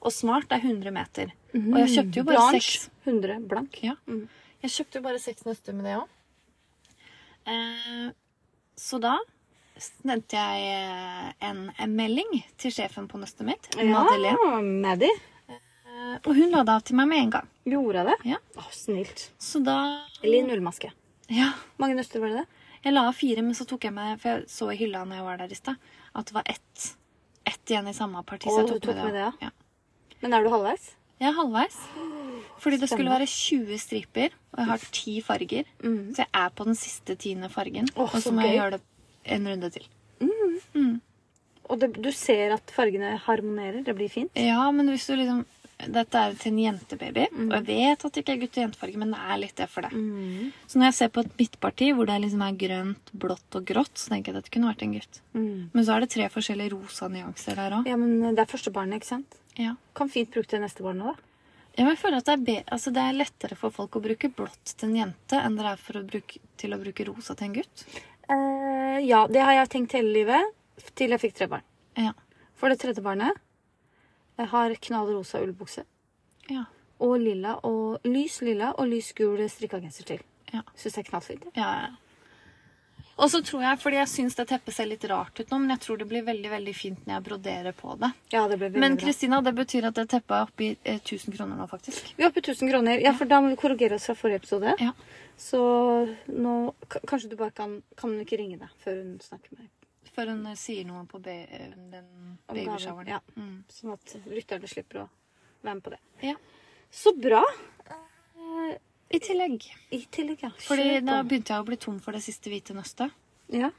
[SPEAKER 2] Og smart er 100 meter. Og jeg kjøpte jo bare
[SPEAKER 1] Blanche.
[SPEAKER 2] seks.
[SPEAKER 1] 100 blank.
[SPEAKER 2] Ja.
[SPEAKER 1] Mm.
[SPEAKER 2] Jeg kjøpte jo bare seks nøster med det òg. Eh, så da sendte jeg eh, en, en melding til sjefen på nøstet mitt, Madeleine.
[SPEAKER 1] Ja, Maddie.
[SPEAKER 2] Eh, Og hun la det av til meg med en gang.
[SPEAKER 1] Gjorde jeg det?
[SPEAKER 2] Ja. Mm.
[SPEAKER 1] Å, snilt.
[SPEAKER 2] Så da
[SPEAKER 1] Eller i nullmaske.
[SPEAKER 2] Ja.
[SPEAKER 1] Mange nøster var det det?
[SPEAKER 2] Jeg la av fire, men så tok jeg med For jeg så i hylla når jeg var der i stad, at det var ett. Ett igjen i samme parti.
[SPEAKER 1] Å,
[SPEAKER 2] så jeg
[SPEAKER 1] du tok med det, ja.
[SPEAKER 2] også. ja.
[SPEAKER 1] Men er du halvveis?
[SPEAKER 2] Jeg er halvveis. Fordi det skulle
[SPEAKER 1] Spennende.
[SPEAKER 2] være 20 striper, og jeg har ti farger.
[SPEAKER 1] Mhm.
[SPEAKER 2] Så jeg er på den siste tiende fargen.
[SPEAKER 1] Åh,
[SPEAKER 2] og
[SPEAKER 1] så
[SPEAKER 2] så må jeg
[SPEAKER 1] gøy.
[SPEAKER 2] gjøre det en runde til.
[SPEAKER 1] Og det, du ser at fargene harmonerer. Det blir fint.
[SPEAKER 2] Ja, men hvis du liksom Dette er til en jentebaby, og jeg vet at det ikke er gutt- og jentefarge, men det er litt det for deg.
[SPEAKER 1] Mm.
[SPEAKER 2] Så når jeg ser på et midtparti hvor det liksom er grønt, blått og grått, så tenker jeg at dette kunne vært en gutt.
[SPEAKER 1] Mm.
[SPEAKER 2] Men så er det tre forskjellige rosa nyanser der òg.
[SPEAKER 1] Ja, men eh, det er første barnet, ikke sant?
[SPEAKER 2] Ja.
[SPEAKER 1] Kan fint bruke det neste barnet, da.
[SPEAKER 2] Ja, men jeg føler at det er, be altså, det er lettere for folk å bruke blått til en jente enn det er for å bruke, til å bruke rosa til en gutt.
[SPEAKER 1] Eh, ja, det har jeg tenkt hele livet. Til jeg fikk tre barn.
[SPEAKER 2] Ja.
[SPEAKER 1] For det tredje barnet jeg har knall rosa ullbukse.
[SPEAKER 2] Ja.
[SPEAKER 1] og lilla og lys lilla og lys gul strikka genser til.
[SPEAKER 2] Ja.
[SPEAKER 1] Syns jeg er knallfint. jeg.
[SPEAKER 2] Ja, ja. Og så tror jeg, fordi jeg syns det teppet ser litt rart ut nå, men jeg tror det blir veldig veldig fint når jeg broderer på det.
[SPEAKER 1] Ja, det ble veldig
[SPEAKER 2] Men
[SPEAKER 1] bra.
[SPEAKER 2] Kristina, det betyr at det teppet er oppi eh, 1000 kroner nå, faktisk.
[SPEAKER 1] Vi er oppe i 1000 kroner. Ja, for da må vi korrigere oss fra forrige episode.
[SPEAKER 2] Ja.
[SPEAKER 1] Så nå k- Kanskje du bare kan Kan hun ikke ringe deg før hun snakker med deg?
[SPEAKER 2] Før hun eh, sier noe på ba eh, den
[SPEAKER 1] Om gaven,
[SPEAKER 2] babyshoweren.
[SPEAKER 1] ja.
[SPEAKER 2] Mm.
[SPEAKER 1] Sånn at lytterne slipper å være med på det.
[SPEAKER 2] Ja.
[SPEAKER 1] Så bra!
[SPEAKER 2] I tillegg.
[SPEAKER 1] I tillegg, ja.
[SPEAKER 2] Fordi
[SPEAKER 1] Kjør
[SPEAKER 2] da
[SPEAKER 1] på.
[SPEAKER 2] begynte jeg å bli tom for det siste hvite nøstet.
[SPEAKER 1] ja.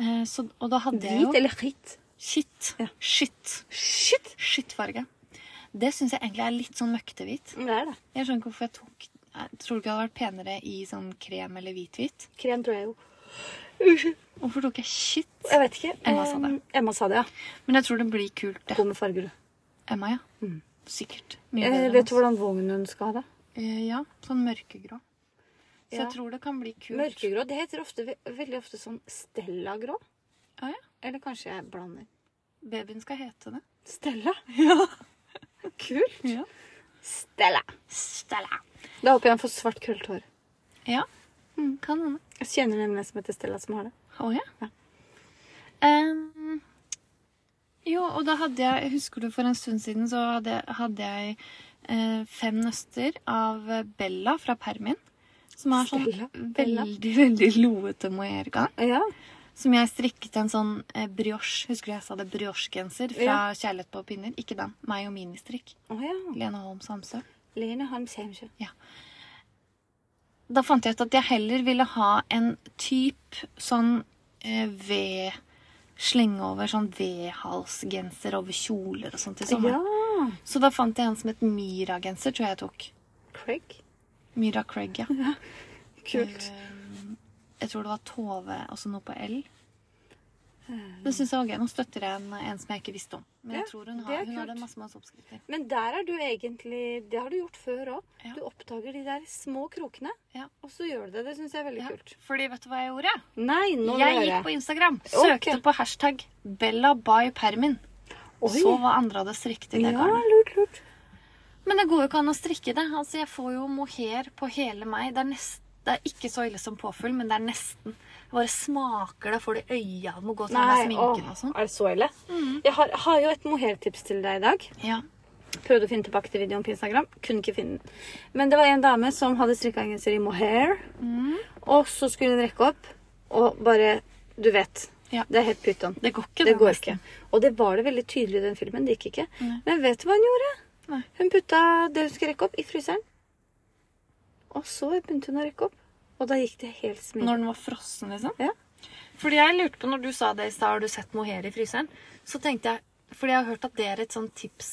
[SPEAKER 2] Eh, så, og da hadde jeg jo
[SPEAKER 1] Hvit eller hvitt?
[SPEAKER 2] Shit.
[SPEAKER 1] Ja.
[SPEAKER 2] Shit.
[SPEAKER 1] Shit!
[SPEAKER 2] Skittfarge. Det syns jeg egentlig er litt sånn møkkete-hvit.
[SPEAKER 1] Det er det.
[SPEAKER 2] Jeg skjønner ikke hvorfor jeg tok jeg Tror du ikke det hadde vært penere i sånn krem eller hvit-hvit?
[SPEAKER 1] Krem tror jeg jo. Unnskyld.
[SPEAKER 2] Hvorfor tok jeg shit?
[SPEAKER 1] Jeg vet ikke.
[SPEAKER 2] Emma sa det.
[SPEAKER 1] Eh, Emma sa det, ja.
[SPEAKER 2] Men jeg tror det blir kult, det.
[SPEAKER 1] God med farger. du.
[SPEAKER 2] Emma, ja.
[SPEAKER 1] Mm.
[SPEAKER 2] Sikkert.
[SPEAKER 1] Eh,
[SPEAKER 2] Mye bedre enn
[SPEAKER 1] vet
[SPEAKER 2] oss.
[SPEAKER 1] du hvordan vogn hun skal ha det?
[SPEAKER 2] Eh, Ja, sånn mørkegrå. Så
[SPEAKER 1] Ja.
[SPEAKER 2] jeg tror det kan bli kult.
[SPEAKER 1] Mørkegrå. Det heter ofte, ve- veldig ofte sånn Stella-grå.
[SPEAKER 2] Ah, ja.
[SPEAKER 1] Eller kanskje jeg blander.
[SPEAKER 2] Babyen skal hete det.
[SPEAKER 1] Stella? Ja. <laughs> Kult.
[SPEAKER 2] Ja.
[SPEAKER 1] Stella.
[SPEAKER 2] Stella.
[SPEAKER 1] Da håper jeg han får svart, krølt hår.
[SPEAKER 2] Ja, kan hende.
[SPEAKER 1] Jeg kjenner nemlig en som heter Stella, som har det.
[SPEAKER 2] Mm. Å ja.
[SPEAKER 1] Ja.
[SPEAKER 2] Em, jo, og da hadde jeg Husker du for en stund siden så hadde, hadde jeg eh, fem nøster av eh, Bella fra permin. Som er sånn
[SPEAKER 1] Stella? Bella?
[SPEAKER 2] veldig, veldig loete mohairgarn.
[SPEAKER 1] Ja.
[SPEAKER 2] Som jeg strikket en sånn eh, brioche Husker du jeg sa det? Brioche-genser fra
[SPEAKER 1] Ja.
[SPEAKER 2] Kjærlighet på pinner. Ikke den. Meg og ministrikk.
[SPEAKER 1] Å ja.
[SPEAKER 2] Lene Holm Samsø.
[SPEAKER 1] Lene Holm Seimsjø.
[SPEAKER 2] Da fant jeg ut at jeg heller ville ha en typ sånn eh, ved Slenge over sånn vedhalsgenser over kjoler og sånt i
[SPEAKER 1] Ja.
[SPEAKER 2] sommer. Så da fant jeg en som het Myra-genser, tror jeg jeg tok.
[SPEAKER 1] Craig.
[SPEAKER 2] Myra Craig, ja.
[SPEAKER 1] Kult.
[SPEAKER 2] Eh, Jeg tror det var Tove, altså noe på L. Det synes jeg var gøy. Nå støtter jeg en, en som jeg ikke visste om.
[SPEAKER 1] Eh.
[SPEAKER 2] Men
[SPEAKER 1] Ja,
[SPEAKER 2] jeg tror hun
[SPEAKER 1] det
[SPEAKER 2] har,
[SPEAKER 1] er
[SPEAKER 2] hun har
[SPEAKER 1] kult.
[SPEAKER 2] det masse, masse oppskrifter.
[SPEAKER 1] Men der er du egentlig Det har du gjort før òg.
[SPEAKER 2] Ja.
[SPEAKER 1] Du oppdager de der små krokene,
[SPEAKER 2] Ja.
[SPEAKER 1] og så gjør du det. Det syns jeg er veldig
[SPEAKER 2] Ja.
[SPEAKER 1] kult.
[SPEAKER 2] Fordi vet du hva jeg gjorde?
[SPEAKER 1] Nei, nå vil
[SPEAKER 2] Jeg
[SPEAKER 1] jeg
[SPEAKER 2] gikk på
[SPEAKER 1] høre.
[SPEAKER 2] Instagram, søkte
[SPEAKER 1] Ok.
[SPEAKER 2] på hashtag Bella by Permin.
[SPEAKER 1] Oi.
[SPEAKER 2] Så hva andre hadde strikket i det
[SPEAKER 1] Ja,
[SPEAKER 2] garnet.
[SPEAKER 1] lurt, lurt.
[SPEAKER 2] Men det går jo ikke an å strikke det. Altså, jeg får jo mohair på hele meg. Det er, nest, det er ikke så ille som påfugl, men det er nesten. Jeg bare smaker det, får det i øya, må gå sånn med sminken
[SPEAKER 1] åh,
[SPEAKER 2] og sånn. Mm.
[SPEAKER 1] er det så ille? Jeg har, har jo et mohairtips til deg i dag.
[SPEAKER 2] Ja.
[SPEAKER 1] Prøvde å finne tilbake til videoen på Instagram. Kunne ikke finne den. Men det var en dame som hadde strikka en genser i mohair.
[SPEAKER 2] Mm.
[SPEAKER 1] Og så skulle hun rekke opp, og bare Du vet.
[SPEAKER 2] Ja.
[SPEAKER 1] Det er helt pyton.
[SPEAKER 2] Det går ikke,
[SPEAKER 1] Det går ikke.
[SPEAKER 2] nesten.
[SPEAKER 1] Og det var det veldig tydelig i den filmen. Det gikk ikke.
[SPEAKER 2] Nei.
[SPEAKER 1] Men vet du hva hun gjorde?
[SPEAKER 2] Nei.
[SPEAKER 1] Hun putta det hun skulle rekke opp, i fryseren. Og så begynte hun å rekke opp. Og da gikk det helt smidig.
[SPEAKER 2] Når den var frossen, liksom.
[SPEAKER 1] Ja.
[SPEAKER 2] Fordi jeg lurte på, når du sa det i stad, har du sett mohair i fryseren? Så tenkte jeg Fordi jeg har hørt at det er et sånt tips,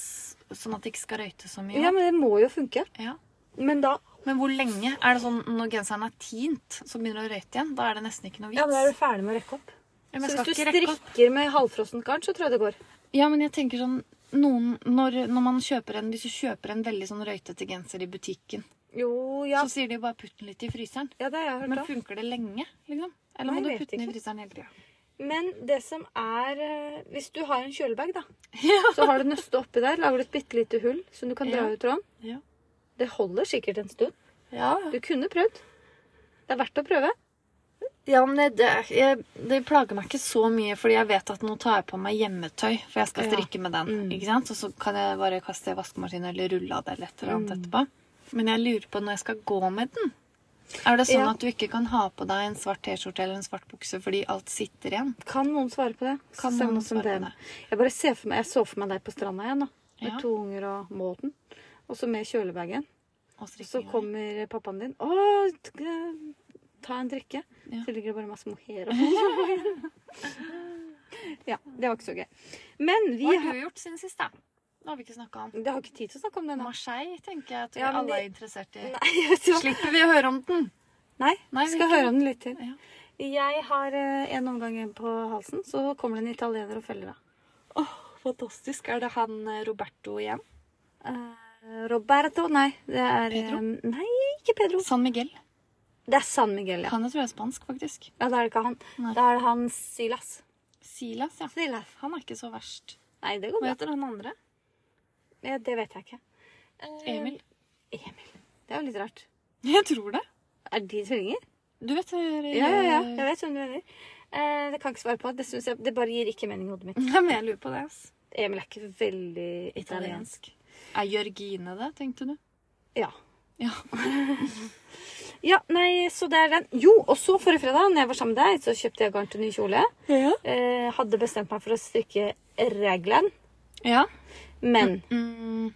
[SPEAKER 2] sånn at det ikke skal røyte så mye.
[SPEAKER 1] Ja, men det må jo funke.
[SPEAKER 2] ja.
[SPEAKER 1] Men da
[SPEAKER 2] Men hvor lenge? Er det sånn når genseren er tint, så begynner det å røyte igjen? Da er det nesten ikke noe vits.
[SPEAKER 1] Ja, men da er du ferdig med å rekke opp.
[SPEAKER 2] Ja, men
[SPEAKER 1] Så
[SPEAKER 2] jeg
[SPEAKER 1] hvis
[SPEAKER 2] skal
[SPEAKER 1] du
[SPEAKER 2] ikke rekke opp.
[SPEAKER 1] strikker med halvfrossent garn, så tror jeg det går.
[SPEAKER 2] Ja, men jeg tenker sånn noen, når, når man kjøper en, Hvis du kjøper en veldig sånn røytete genser i butikken,
[SPEAKER 1] Jo, ja.
[SPEAKER 2] så sier de jo bare 'putt den litt i fryseren'.
[SPEAKER 1] Ja, det har jeg hørt
[SPEAKER 2] Men
[SPEAKER 1] òg.
[SPEAKER 2] funker det lenge? liksom? Eller
[SPEAKER 1] Nei,
[SPEAKER 2] må du
[SPEAKER 1] jeg vet
[SPEAKER 2] putte den i
[SPEAKER 1] ikke.
[SPEAKER 2] fryseren hele tida?
[SPEAKER 1] Men det som er eh, Hvis du har en kjølebag, da, <laughs> så har du nøstet oppi der, lager du et bitte lite hull som du kan dra
[SPEAKER 2] Ja.
[SPEAKER 1] ut tråden.
[SPEAKER 2] Ja.
[SPEAKER 1] Det holder sikkert en stund.
[SPEAKER 2] <laughs> Ja.
[SPEAKER 1] Du kunne prøvd. Det er verdt å prøve.
[SPEAKER 2] ja, men det, det, er- jeg, det plager meg ikke så mye, fordi jeg vet at nå tar jeg på meg hjemmetøy, for jeg skal
[SPEAKER 1] Ja.
[SPEAKER 2] strikke med den.
[SPEAKER 1] Mm.
[SPEAKER 2] ikke sant? Og så kan jeg bare kaste det i vaskemaskinen eller rulle av det eller et eller annet etterpå. Men jeg lurer på når jeg skal gå med den. Er det sånn
[SPEAKER 1] Ja.
[SPEAKER 2] at du ikke kan ha på deg en svart T-skjorte eller en svart bukse fordi alt sitter igjen?
[SPEAKER 1] Kan noen svare på det?
[SPEAKER 2] Kan
[SPEAKER 1] Send
[SPEAKER 2] noen
[SPEAKER 1] oss en
[SPEAKER 2] svare på
[SPEAKER 1] DM.
[SPEAKER 2] det?
[SPEAKER 1] Jeg bare ser for meg, jeg så for meg deg på stranda igjen, da. Med
[SPEAKER 2] Ja.
[SPEAKER 1] to unger og måten. Og så med kjølebagen.
[SPEAKER 2] Og
[SPEAKER 1] Så
[SPEAKER 2] strikkinga?
[SPEAKER 1] kommer pappaen din. Å, t- eh, ta en drikke.
[SPEAKER 2] Ja.
[SPEAKER 1] Så ligger det bare masse <laughs> mohair og sånn. Ja, det var ikke så gøy. Men vi
[SPEAKER 2] Hva har
[SPEAKER 1] har
[SPEAKER 2] du gjort siden sist, da? Det har vi ikke snakka om.
[SPEAKER 1] Det har ikke tid til å snakke om det nå.
[SPEAKER 2] Marseille tenker jeg at vi
[SPEAKER 1] Ja, men
[SPEAKER 2] alle
[SPEAKER 1] det-
[SPEAKER 2] er interessert i.
[SPEAKER 1] Nei, <laughs> jeg vet ikke hva-
[SPEAKER 2] Slipper vi å høre om den?
[SPEAKER 1] Nei,
[SPEAKER 2] Nei,
[SPEAKER 1] vi skal
[SPEAKER 2] vi kan-
[SPEAKER 1] høre om den litt til.
[SPEAKER 2] Ja.
[SPEAKER 1] Jeg har eh, en omgang igjen på halsen, så kommer det en italiener og feller av.
[SPEAKER 2] fantastisk. Er det han Roberto igjen?
[SPEAKER 1] Eh, Roberto Nei, det er eh,
[SPEAKER 2] Pedro?
[SPEAKER 1] Nei, ikke Pedro.
[SPEAKER 2] San Miguel.
[SPEAKER 1] Det er San Miguel, ja.
[SPEAKER 2] Han jeg tror jeg er spansk, faktisk.
[SPEAKER 1] Ja, Da er det ikke han.
[SPEAKER 2] Nei.
[SPEAKER 1] Da er det han Silas.
[SPEAKER 2] Silas, ja.
[SPEAKER 1] Silas.
[SPEAKER 2] Han er ikke så verst.
[SPEAKER 1] Nei, det går
[SPEAKER 2] Hva
[SPEAKER 1] bra.
[SPEAKER 2] heter han andre?
[SPEAKER 1] Ja, det vet jeg ikke. Eh,
[SPEAKER 2] Emil.
[SPEAKER 1] Emil. Det er jo litt rart.
[SPEAKER 2] Eh, Jeg tror det.
[SPEAKER 1] Er de tvillinger?
[SPEAKER 2] Du vet eh,
[SPEAKER 1] Ja, ja, ja. Jeg vet hvem du mener. Eh, det kan jeg ikke svare på. Det, synes jeg, det bare gir ikke mening i hodet mitt.
[SPEAKER 2] Nei, men jeg lurer på det. ass.
[SPEAKER 1] Emil er ikke veldig italiensk.
[SPEAKER 2] Er Jørgine det, tenkte du?
[SPEAKER 1] Ja.
[SPEAKER 2] Ja.
[SPEAKER 1] ja, nei, så det er den. Jo, og så forrige fredag, når jeg var sammen med deg, så kjøpte jeg garn til ny kjole.
[SPEAKER 2] Ja.
[SPEAKER 1] Eh, hadde bestemt meg for å strikke regelen,
[SPEAKER 2] ja.
[SPEAKER 1] men
[SPEAKER 2] Mm.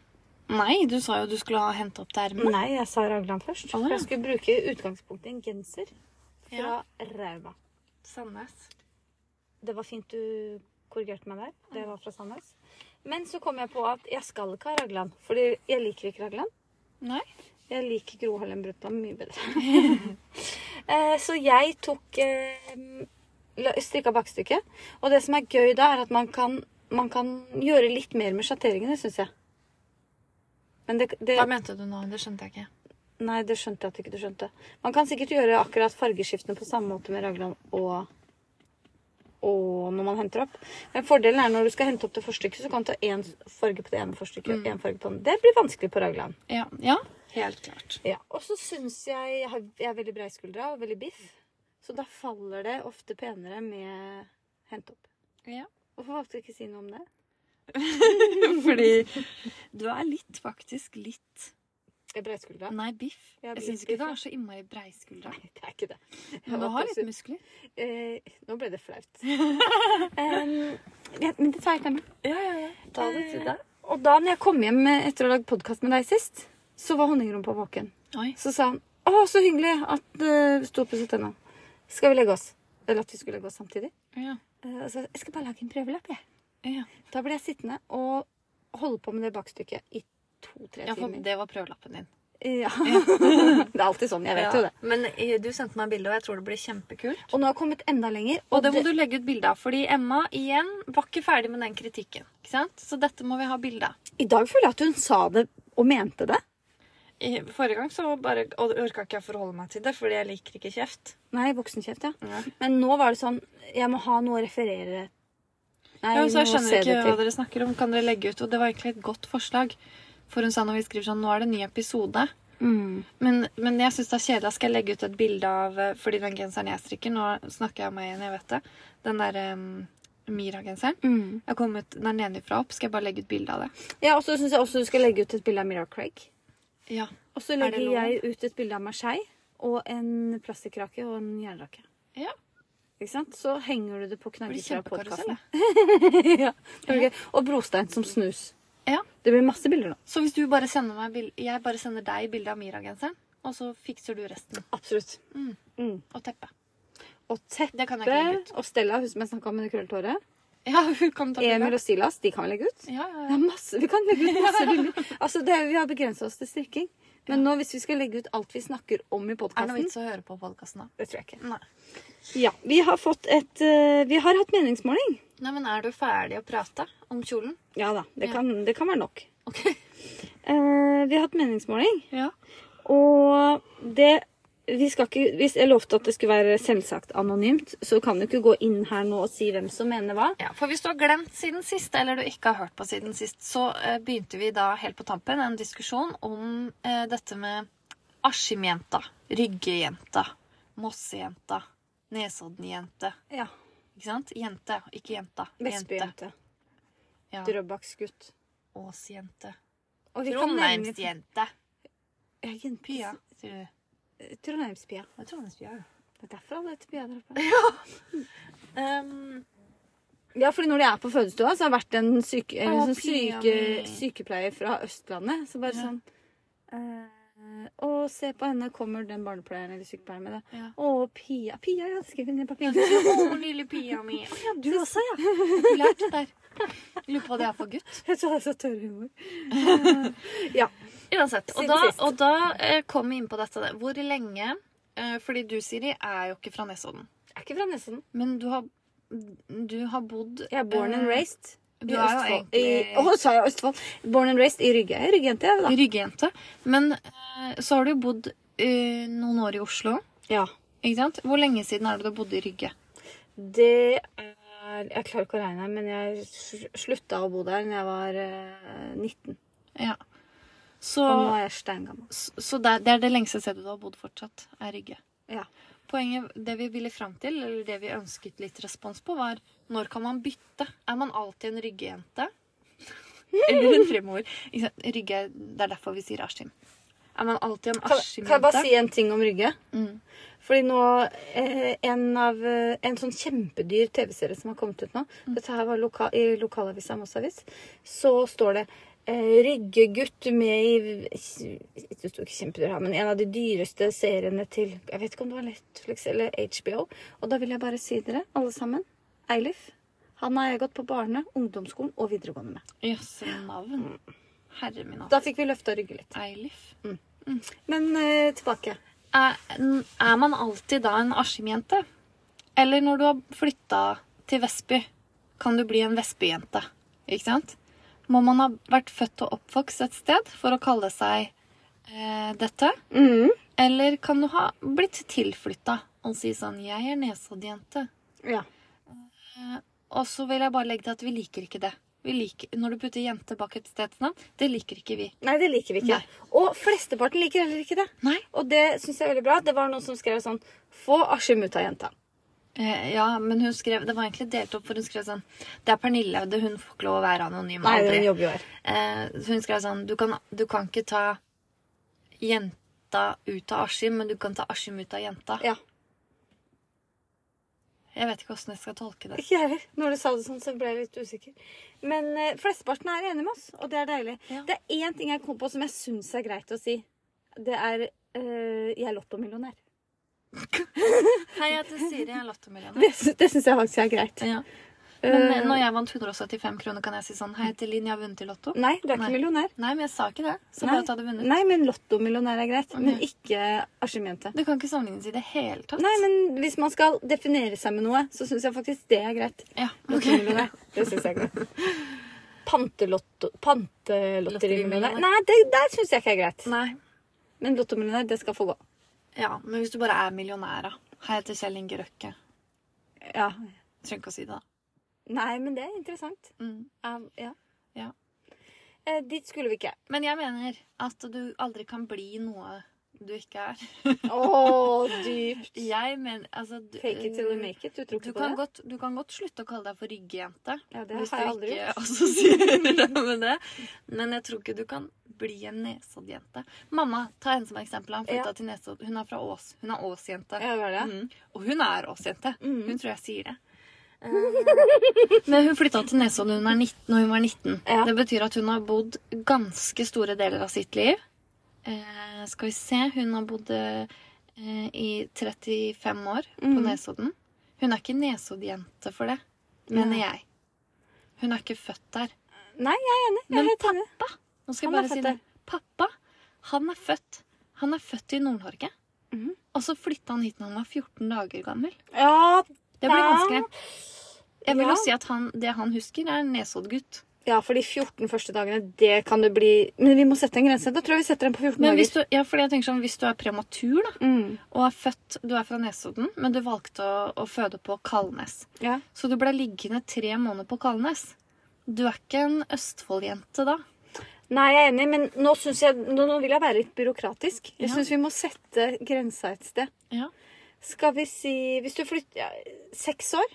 [SPEAKER 2] Nei, du sa jo du skulle ha hente opp det ermet.
[SPEAKER 1] Nei, jeg sa raglan først.
[SPEAKER 2] Mm. Å,
[SPEAKER 1] For
[SPEAKER 2] ja.
[SPEAKER 1] jeg skulle bruke i utgangspunktet en genser fra
[SPEAKER 2] Ja.
[SPEAKER 1] Rauma.
[SPEAKER 2] Sandnes.
[SPEAKER 1] Det var fint du korrigerte meg der. Det var fra Sandnes. Men så kom jeg på at jeg skal ikke ha raglan, fordi jeg liker ikke raglan.
[SPEAKER 2] Nei.
[SPEAKER 1] Jeg liker Gro Harlem Brundtland mye bedre. Eh, så jeg tok eh, la- strikka bakstykket. Og det som er gøy da, er at man kan, man kan gjøre litt mer med sjatteringene, syns jeg. Men det, det
[SPEAKER 2] Hva mente du nå? Det skjønte jeg ikke.
[SPEAKER 1] Nei, det skjønte jeg at ikke du skjønte. Man kan sikkert gjøre akkurat fargeskiftene på samme måte med raglan og, og når man henter opp. Men fordelen er når du skal hente opp det forstykket, så kan du ta én farge på det ene forstykket. og én farge på den. Det blir vanskelig på raglan.
[SPEAKER 2] Ja, ja. helt klart.
[SPEAKER 1] Ja. Og så syns jeg jeg, har, jeg er veldig breiskuldra og veldig biff, så da faller det ofte penere med hente opp. <laughs>
[SPEAKER 2] Ja.
[SPEAKER 1] Hvorfor valgte du ikke å si noe om det?
[SPEAKER 2] Fordi du er litt, faktisk litt
[SPEAKER 1] Jeg er breiskuldra.
[SPEAKER 2] Nei, biff.
[SPEAKER 1] Ja,
[SPEAKER 2] Jeg
[SPEAKER 1] biff,
[SPEAKER 2] syns ikke
[SPEAKER 1] biff,
[SPEAKER 2] du
[SPEAKER 1] ja.
[SPEAKER 2] er så innmari breiskuldra.
[SPEAKER 1] Nei, <laughs> det er ikke det. Jeg
[SPEAKER 2] Men du
[SPEAKER 1] var
[SPEAKER 2] har
[SPEAKER 1] også-
[SPEAKER 2] litt muskler.
[SPEAKER 1] Eh, nå ble det
[SPEAKER 2] <laughs>
[SPEAKER 1] flaut. Em, ja, men det tar jeg ikke med.
[SPEAKER 2] Ja, ja, ja.
[SPEAKER 1] Ta det til deg. Og da når jeg kom hjem etter å ha lagd podkast med deg sist, så var honningrompa våken.
[SPEAKER 2] Oi.
[SPEAKER 1] Så sa han 'Å, så hyggelig at eh, du sto opp og satte nå. Skal vi legge oss?' Eller at vi skulle legge oss samtidig.
[SPEAKER 2] Ja.
[SPEAKER 1] Eh, og så, 'Jeg skal bare lage en prøvelapp, jeg'.
[SPEAKER 2] Ja.
[SPEAKER 1] Da ble jeg sittende og holde på med det bakstykket i to-tre
[SPEAKER 2] ja, for
[SPEAKER 1] timer.
[SPEAKER 2] det var prøvelappen din.
[SPEAKER 1] Ja. <laughs> det er alltid sånn. Jeg vet jo det.
[SPEAKER 2] Men eh, du sendte meg bilde, og jeg tror det blir kjempekult.
[SPEAKER 1] Og nå har jeg kommet enda lenger.
[SPEAKER 2] Og det må du legge ut bilde av, fordi Emma igjen var ikke ferdig med den kritikken. Ikke sant? Så dette må vi ha bilde av.
[SPEAKER 1] I dag føler jeg at hun sa det og mente det.
[SPEAKER 2] I Forrige gang så bare og orka ikke jeg forholde meg til det, fordi jeg liker ikke kjeft.
[SPEAKER 1] Nei, voksenkjeft, ja. Men nå var det sånn Jeg må ha noe å referere Nei,
[SPEAKER 2] Ja, så
[SPEAKER 1] vi
[SPEAKER 2] jeg
[SPEAKER 1] må
[SPEAKER 2] skjønner
[SPEAKER 1] se
[SPEAKER 2] ikke
[SPEAKER 1] det
[SPEAKER 2] hva
[SPEAKER 1] til.
[SPEAKER 2] dere snakker om. Kan dere legge ut? Og det var egentlig et godt forslag. For hun sa når vi skriver sånn Nå er det en ny episode.
[SPEAKER 1] Mm.
[SPEAKER 2] Men, men jeg syns det er kjedelig. Da skal jeg legge ut et bilde av eh, Fordi den genseren jeg strikker Nå snakker jeg om meg igjen, jeg vet det. Den der eh, Mira-genseren.
[SPEAKER 1] Mm.
[SPEAKER 2] Jeg kom ut den er nedenfra opp. Skal jeg bare legge ut bilde av det?
[SPEAKER 1] Ja, og så syns jeg også du skal legge ut et bilde av Mira Craig.
[SPEAKER 2] Ja.
[SPEAKER 1] Og så
[SPEAKER 2] Er det
[SPEAKER 1] legger
[SPEAKER 2] lov?
[SPEAKER 1] jeg ut et bilde av meg skei og en plastikkrake og en jernrake.
[SPEAKER 2] Ja.
[SPEAKER 1] Ikke sant? Så henger du det på
[SPEAKER 2] Det blir
[SPEAKER 1] knagger fra
[SPEAKER 2] kjempekarusell.
[SPEAKER 1] podkasten.
[SPEAKER 2] det.
[SPEAKER 1] ja. det blir gøy. Og brostein som snus.
[SPEAKER 2] Ja.
[SPEAKER 1] Det blir masse bilder nå.
[SPEAKER 2] Så hvis du bare sender meg bil- Jeg bare sender deg bilde av Mira-genseren, og så fikser du resten.
[SPEAKER 1] Absolutt.
[SPEAKER 2] Mm.
[SPEAKER 1] Mm.
[SPEAKER 2] Og teppet.
[SPEAKER 1] Og Teppe
[SPEAKER 2] Det kan jeg ikke legge ut. <laughs>
[SPEAKER 1] og Stella, hun som jeg snakka om med det krøllete håret.
[SPEAKER 2] Ja, hun kan ta bilde.
[SPEAKER 1] Emil og Silas, de kan vi legge ut.
[SPEAKER 2] Ja,
[SPEAKER 1] Det
[SPEAKER 2] ja, ja.
[SPEAKER 1] er masse, Vi kan legge ut masse bilder. Altså, det er, vi har begrensa oss til strikking. Men nå, hvis vi skal legge ut alt vi snakker om i
[SPEAKER 2] Er det noe
[SPEAKER 1] podkasten
[SPEAKER 2] vits å høre på podkasten, da?
[SPEAKER 1] Det tror jeg ikke.
[SPEAKER 2] Nei.
[SPEAKER 1] Ja, Vi har fått et eh, Vi har hatt meningsmåling.
[SPEAKER 2] Nei, men er du ferdig å prate om kjolen?
[SPEAKER 1] Ja da. Det
[SPEAKER 2] Ja.
[SPEAKER 1] kan, det kan være nok.
[SPEAKER 2] Ok.
[SPEAKER 1] Eh, vi har hatt meningsmåling,
[SPEAKER 2] <laughs> Ja.
[SPEAKER 1] og det vi skal ikke, Hvis jeg lovte at det skulle være selvsagt anonymt, så kan du ikke gå inn her nå og si hvem som mener hva.
[SPEAKER 2] Ja, for hvis du har glemt siden sist, eller du ikke har hørt på siden sist, så eh, begynte vi da helt på tampen en diskusjon om eh, dette med Askim-jenta, Rygge-jenta, Mosse-jenta, Nesodden-jente.
[SPEAKER 1] Ja.
[SPEAKER 2] Ikke sant? Jente, ikke jenta. Jente.
[SPEAKER 1] Vestbyjente.
[SPEAKER 2] Ja.
[SPEAKER 1] Drøbaksgutt.
[SPEAKER 2] Ås-jente.
[SPEAKER 1] Og vi kan nevne-
[SPEAKER 2] Trondheimsjente.
[SPEAKER 1] Ja, jente-
[SPEAKER 2] Pia, sier du.
[SPEAKER 1] Trondheimspia.
[SPEAKER 2] Det er Trondheimspia, jo.
[SPEAKER 1] Det er derfor alle heter Pia der oppe.
[SPEAKER 2] Um,
[SPEAKER 1] Ja, fordi når de er på fødestua, så har det vært en, syke, en
[SPEAKER 2] Å,
[SPEAKER 1] sånn
[SPEAKER 2] Pia
[SPEAKER 1] syke,
[SPEAKER 2] mi.
[SPEAKER 1] sykepleier fra Østlandet. Så bare
[SPEAKER 2] Ja.
[SPEAKER 1] sånn eh, Å, se på henne, kommer den barnepleieren eller sykepleieren med det.
[SPEAKER 2] Ja.
[SPEAKER 1] Å, Pia. Pia, ja. Skriv ned på papiret.
[SPEAKER 2] <laughs> Å, lille Pia mi. Å, ja,
[SPEAKER 1] <laughs>
[SPEAKER 2] du også, ja. Populært det der. Lurer på hva det er for gutt.
[SPEAKER 1] Jeg tror <laughs> det er så tørr humor.
[SPEAKER 2] Uansett. Og
[SPEAKER 1] Siden
[SPEAKER 2] da,
[SPEAKER 1] sist.
[SPEAKER 2] og da eh, kom vi inn på dette. der. Hvor lenge eh, Fordi du, Siri, er jo ikke fra Nesodden.
[SPEAKER 1] Jeg er ikke fra Nesodden.
[SPEAKER 2] Men du har, du har bodd
[SPEAKER 1] Jeg er born and
[SPEAKER 2] eh,
[SPEAKER 1] raised.
[SPEAKER 2] Du
[SPEAKER 1] i
[SPEAKER 2] er jo
[SPEAKER 1] Østfold. I- Å,
[SPEAKER 2] egentlig
[SPEAKER 1] sa jeg Østfold? Born and raised i Rygge. Jeg er Ryggejente, jeg, da.
[SPEAKER 2] ryggejente. Men eh, så har du jo bodd eh, noen år i Oslo.
[SPEAKER 1] Ja.
[SPEAKER 2] Ikke sant? Hvor lenge siden er det du bodde i Rygge?
[SPEAKER 1] Det er Jeg klarer ikke å regne, men jeg sl- slutta å bo der da jeg var eh, 19.
[SPEAKER 2] Ja. Så,
[SPEAKER 1] Og nå er jeg steingammel.
[SPEAKER 2] s- så det, er, det er det lengste stedet du har bodd fortsatt, er Rygge.
[SPEAKER 1] Ja.
[SPEAKER 2] Poenget, det vi ville fram til, eller det vi ønsket litt respons på, var når kan man bytte? Er man alltid en ryggejente? <laughs> Eller en fremover? Ikke sant? Rygge, det er derfor vi sier Askim. Er man alltid en
[SPEAKER 1] Kan, kan jeg bare
[SPEAKER 2] Askim-jente?
[SPEAKER 1] si en ting om Rygge?
[SPEAKER 2] Mm.
[SPEAKER 1] Fordi nå eh, en, av, eh, en sånn kjempedyr TV-serie som har kommet ut nå Dette her var loka i lokalavisa Moss Avis. Så står det eh, 'Ryggegutt' med i Det sto ikke kjempedyr her, men en av de dyreste seriene til Jeg vet ikke om det var Netflix eller HBO. Og da vil jeg bare si dere, alle sammen Eilif. Han har jeg gått på barne-, ungdomsskolen og videregående med.
[SPEAKER 2] Jøsse navn. Herre min hatt.
[SPEAKER 1] Da fikk vi løfta Rygge litt.
[SPEAKER 2] Eilif.
[SPEAKER 1] Men eh, tilbake.
[SPEAKER 2] er, er man alltid da en Askim-jente? Eller når du har flytta til Vestby, kan du bli en Vestby-jente? Ikke sant? Må man ha vært født og oppvokst et sted for å kalle seg eh, dette?
[SPEAKER 1] Mm.
[SPEAKER 2] Eller kan du ha blitt tilflytta og si sånn 'Jeg er Nesodd-jente'.
[SPEAKER 1] Ja.
[SPEAKER 2] Og så vil jeg bare legge til at vi liker ikke det. Vi liker, når du putter jente bak et stedsnavn, det liker ikke vi.
[SPEAKER 1] Nei, det liker vi ikke.
[SPEAKER 2] Nei.
[SPEAKER 1] Og flesteparten liker heller ikke det.
[SPEAKER 2] Nei.
[SPEAKER 1] Og det syns jeg er veldig bra. Det var noen som skrev sånn Få Askim ut av jenta.
[SPEAKER 2] Eh, ja, men hun skrev, det var egentlig delt opp, for hun skrev sånn Det er Pernille, det, hun får ikke lov å være anonym.
[SPEAKER 1] Nei,
[SPEAKER 2] aldri.
[SPEAKER 1] den jobber jo her.
[SPEAKER 2] Eh, så hun skrev sånn du kan, du kan ikke ta jenta ut av Askim, men du kan ta Askim ut av jenta.
[SPEAKER 1] Ja.
[SPEAKER 2] Jeg vet ikke åssen jeg skal tolke det.
[SPEAKER 1] Ikke jeg heller. Når du sa det sånn, så ble jeg litt usikker. Men eh, flesteparten er enig med oss, og det er deilig.
[SPEAKER 2] Ja.
[SPEAKER 1] Det er én ting jeg kom på som jeg syns er greit å si. Det er eh, 'jeg er lottomillionær'.
[SPEAKER 2] <laughs> Hei, jeg heter Siri, jeg er lottomillionær.
[SPEAKER 1] Det, sy- det syns jeg faktisk er greit.
[SPEAKER 2] Ja. Men eh,
[SPEAKER 1] Eh,
[SPEAKER 2] når jeg vant 175 kroner, kan jeg si sånn Hei, jeg heter Linn, jeg har vunnet i Lotto.
[SPEAKER 1] Nei, du er ikke
[SPEAKER 2] Nei.
[SPEAKER 1] millionær.
[SPEAKER 2] Nei, men jeg sa ikke det. Så
[SPEAKER 1] Nei.
[SPEAKER 2] bare at jeg hadde vunnet.
[SPEAKER 1] Nei, men lottomillionær er greit.
[SPEAKER 2] Ok.
[SPEAKER 1] Men ikke Askim-jente.
[SPEAKER 2] Det kan ikke sammenlignes i det hele tatt.
[SPEAKER 1] Nei, men hvis man skal definere seg med noe, så syns jeg faktisk det er greit.
[SPEAKER 2] Ja, ok.
[SPEAKER 1] Lottomillionær. <laughs> Det syns jeg er greit. Pantelotto... Pantelotterimillionær.
[SPEAKER 2] Lotterimillionær.
[SPEAKER 1] Nei, det der syns jeg ikke er greit.
[SPEAKER 2] Nei.
[SPEAKER 1] Men lottomillionær, det skal få gå.
[SPEAKER 2] Ja, men hvis du bare er millionær, da. Hei, jeg heter Kjell Inge Røkke.
[SPEAKER 1] Ja.
[SPEAKER 2] Trenger ikke å si det, da.
[SPEAKER 1] Nei, men det er interessant.
[SPEAKER 2] Mm.
[SPEAKER 1] Um, ja.
[SPEAKER 2] Ja.
[SPEAKER 1] Eh, dit skulle vi
[SPEAKER 2] <laughs>
[SPEAKER 1] ikke.
[SPEAKER 2] Men jeg mener at du aldri kan bli noe du ikke er.
[SPEAKER 1] Å, dypt.
[SPEAKER 2] Jeg mener altså du,
[SPEAKER 1] Fake it till you make it. Du tror
[SPEAKER 2] du
[SPEAKER 1] ikke på
[SPEAKER 2] kan,
[SPEAKER 1] det?
[SPEAKER 2] godt, du kan godt slutte å kalle deg for ryggejente.
[SPEAKER 1] Ja, det
[SPEAKER 2] Hvis
[SPEAKER 1] har jeg
[SPEAKER 2] du
[SPEAKER 1] aldri
[SPEAKER 2] ikke
[SPEAKER 1] gjort.
[SPEAKER 2] <laughs> assosierer deg med det. Men jeg tror ikke du kan bli en Nesodd-jente. Mamma, ta henne som eksempel. Han flytta
[SPEAKER 1] Ja.
[SPEAKER 2] til Nesodd. Hun er fra Ås. Hun er Ås-jente.
[SPEAKER 1] Ja, hva er det?
[SPEAKER 2] Mm. Og hun er Ås-jente.
[SPEAKER 1] Mm.
[SPEAKER 2] <laughs>
[SPEAKER 1] Eh,
[SPEAKER 2] Hun tror jeg sier det. Men hun flytta til Nesodden hun er 19, når hun var 19.
[SPEAKER 1] Ja.
[SPEAKER 2] Det betyr at hun har bodd ganske store deler av sitt liv. Eh, skal vi se Hun har bodd eh, i 35 år på
[SPEAKER 1] Mhm.
[SPEAKER 2] Nesodden. Hun er ikke Nesodd-jente for det, mener
[SPEAKER 1] Nei.
[SPEAKER 2] jeg. Hun er ikke født der.
[SPEAKER 1] Nei, jeg er enig. Jeg
[SPEAKER 2] Men
[SPEAKER 1] er helt enig.
[SPEAKER 2] Pappa, nå skal jeg
[SPEAKER 1] Han er
[SPEAKER 2] bare
[SPEAKER 1] født
[SPEAKER 2] si det. Pappa, han er født. Han er født i Nord-Norge.
[SPEAKER 1] Mhm.
[SPEAKER 2] Og så flytta han hit når han var 14 dager gammel.
[SPEAKER 1] Ja,
[SPEAKER 2] Det blir
[SPEAKER 1] Ja.
[SPEAKER 2] vanskelig. Jeg vil
[SPEAKER 1] Ja.
[SPEAKER 2] jo si at han, det han husker, er en Nesodd-gutt.
[SPEAKER 1] ja, for de 14 første dagene, det kan det bli Men vi må sette en grense. Da tror jeg vi setter den på 14
[SPEAKER 2] Men hvis
[SPEAKER 1] dager.
[SPEAKER 2] du, ja, fordi jeg tenker sånn, hvis du er prematur da,
[SPEAKER 1] Mm.
[SPEAKER 2] og er født Du er fra Nesodden, men du valgte å, å føde på Kalnes.
[SPEAKER 1] Ja.
[SPEAKER 2] Så du ble liggende tre måneder på Kalnes. Du er ikke en Østfold-jente da.
[SPEAKER 1] Nei, jeg er enig, men nå, synes jeg, nå, nå vil jeg være litt byråkratisk. Jeg
[SPEAKER 2] Ja.
[SPEAKER 1] syns vi må sette grensa et sted.
[SPEAKER 2] Ja.
[SPEAKER 1] Skal vi si Hvis du flytter ja, Seks år?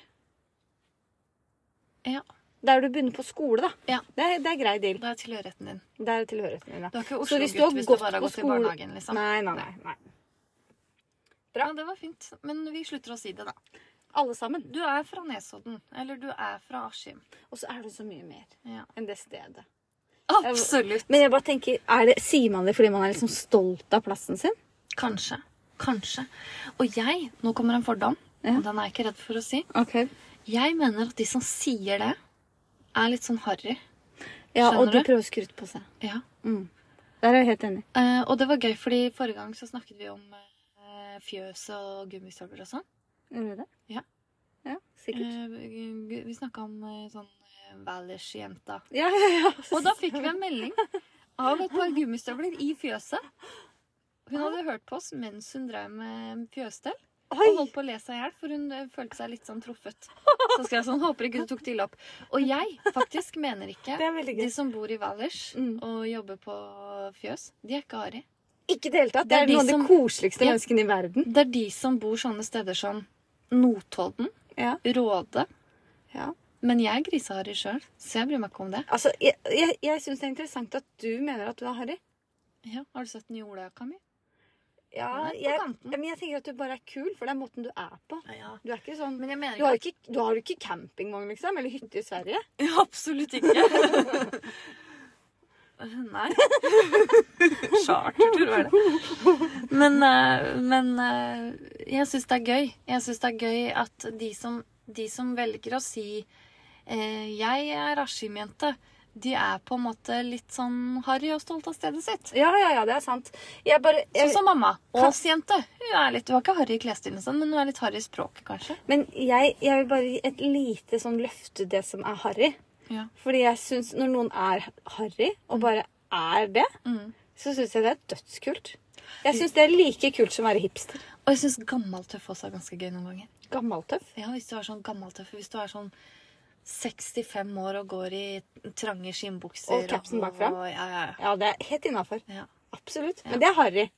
[SPEAKER 2] Ja.
[SPEAKER 1] Der du begynner på skole, da.
[SPEAKER 2] Ja.
[SPEAKER 1] Det, er- det er grei deal.
[SPEAKER 2] Det er tilhørigheten din.
[SPEAKER 1] Der er tilhørigheten din.
[SPEAKER 2] Du
[SPEAKER 1] Da.
[SPEAKER 2] er ikke
[SPEAKER 1] Så
[SPEAKER 2] Oslo-gutt
[SPEAKER 1] hvis
[SPEAKER 2] hvis,
[SPEAKER 1] du har
[SPEAKER 2] du
[SPEAKER 1] gått
[SPEAKER 2] bare har
[SPEAKER 1] på
[SPEAKER 2] gått i
[SPEAKER 1] skole-
[SPEAKER 2] barnehagen, liksom.
[SPEAKER 1] Nei, nei, nei, nei.
[SPEAKER 2] Ja, det var fint. Men vi slutter å si det, da.
[SPEAKER 1] Alle sammen.
[SPEAKER 2] Du er fra Nesodden. Eller du er fra Askim.
[SPEAKER 1] Og så er det så mye mer
[SPEAKER 2] Ja.
[SPEAKER 1] enn det stedet.
[SPEAKER 2] Absolutt.
[SPEAKER 1] Men jeg bare tenker, er det, Sier man det fordi man er liksom stolt av plassen sin?
[SPEAKER 2] Kanskje. Kanskje. Og jeg Nå kommer en fordom.
[SPEAKER 1] Ja.
[SPEAKER 2] og Den er jeg ikke redd for å si.
[SPEAKER 1] Ok.
[SPEAKER 2] Jeg mener at de som sier det, er litt sånn harry.
[SPEAKER 1] Ja,
[SPEAKER 2] Skjønner
[SPEAKER 1] Og de
[SPEAKER 2] du?
[SPEAKER 1] prøver å skryte på seg.
[SPEAKER 2] Ja.
[SPEAKER 1] Mm. Der er jeg helt enig.
[SPEAKER 2] Eh, og det var gøy, fordi forrige gang så snakket vi om eh, fjøs og gummistøvler og sånn.
[SPEAKER 1] Gjør du det?
[SPEAKER 2] Ja.
[SPEAKER 1] Ja, Sikkert.
[SPEAKER 2] Eh, vi snakka om eh, sånn eh, Valish-jenta.
[SPEAKER 1] Ja, ja, ja.
[SPEAKER 2] Og da fikk vi en melding av et par gummistøvler i fjøset. Hun hadde hørt på oss mens hun drev med fjøsstell. Og
[SPEAKER 1] Oi!
[SPEAKER 2] holdt på å le seg i hjel, for hun eh, følte seg litt sånn truffet. Så skrev jeg sånn Håper ikke du tok det ille opp. Og jeg faktisk mener ikke
[SPEAKER 1] Det er veldig gøy.
[SPEAKER 2] De som bor i Valdres
[SPEAKER 1] Mm.
[SPEAKER 2] og jobber på fjøs, de er ikke harry.
[SPEAKER 1] Ikke i det hele tatt.
[SPEAKER 2] Det
[SPEAKER 1] Det
[SPEAKER 2] er
[SPEAKER 1] er
[SPEAKER 2] de
[SPEAKER 1] noen av de
[SPEAKER 2] som-
[SPEAKER 1] koseligste
[SPEAKER 2] Ja.
[SPEAKER 1] menneskene i verden.
[SPEAKER 2] Det er de som bor sånne steder som Notodden,
[SPEAKER 1] Ja.
[SPEAKER 2] Råde.
[SPEAKER 1] Ja.
[SPEAKER 2] Men jeg er griseharry sjøl, så jeg bryr meg ikke om det.
[SPEAKER 1] Altså, jeg, jeg, jeg syns det er interessant at du mener at du er harry.
[SPEAKER 2] Ja, Har du sett den julejakka mi?
[SPEAKER 1] Ja,
[SPEAKER 2] Den er på
[SPEAKER 1] jeg,
[SPEAKER 2] kanten.
[SPEAKER 1] men jeg tenker at du bare er kul, for det er måten du er på.
[SPEAKER 2] Ja.
[SPEAKER 1] Du er ikke sånn
[SPEAKER 2] Men jeg mener
[SPEAKER 1] Du har
[SPEAKER 2] ikke,
[SPEAKER 1] jo ikke, du har jo ikke campingvogn, liksom? Eller hytte i Sverige?
[SPEAKER 2] Ja, Absolutt ikke. <laughs> Nei. Chartertur var det. Men, eh, men eh, jeg syns det er gøy. Jeg syns det er gøy at de som, de som velger å si eh, 'jeg er Askim-jente', de er på en måte litt sånn harry og stolt av stedet sitt.
[SPEAKER 1] Ja, ja, ja, det er sant. Jeg bare jeg,
[SPEAKER 2] Sånn som mamma. Ås jente. Hun er litt, hun er ikke harry i klesstilen, og sånn, men hun er litt harry i språket, kanskje.
[SPEAKER 1] Men jeg, jeg vil bare gi et lite sånn løfte det som er harry.
[SPEAKER 2] Ja.
[SPEAKER 1] Fordi jeg syns når noen er harry, og bare er det, så syns jeg det er dødskult. Jeg syns det er like kult som å være hipster.
[SPEAKER 2] Og jeg syns gammaltøff også er ganske gøy noen ganger.
[SPEAKER 1] Gammaltøff.
[SPEAKER 2] Ja, hvis du er sånn gammaltøff. Hvis du er sånn 65 år og går i trange skinnbukser
[SPEAKER 1] Og capsen
[SPEAKER 2] og-
[SPEAKER 1] bakfra.
[SPEAKER 2] og- Ja, ja,
[SPEAKER 1] Ja, det er helt innafor.
[SPEAKER 2] ja. ja.
[SPEAKER 1] Absolutt. Men det er harry.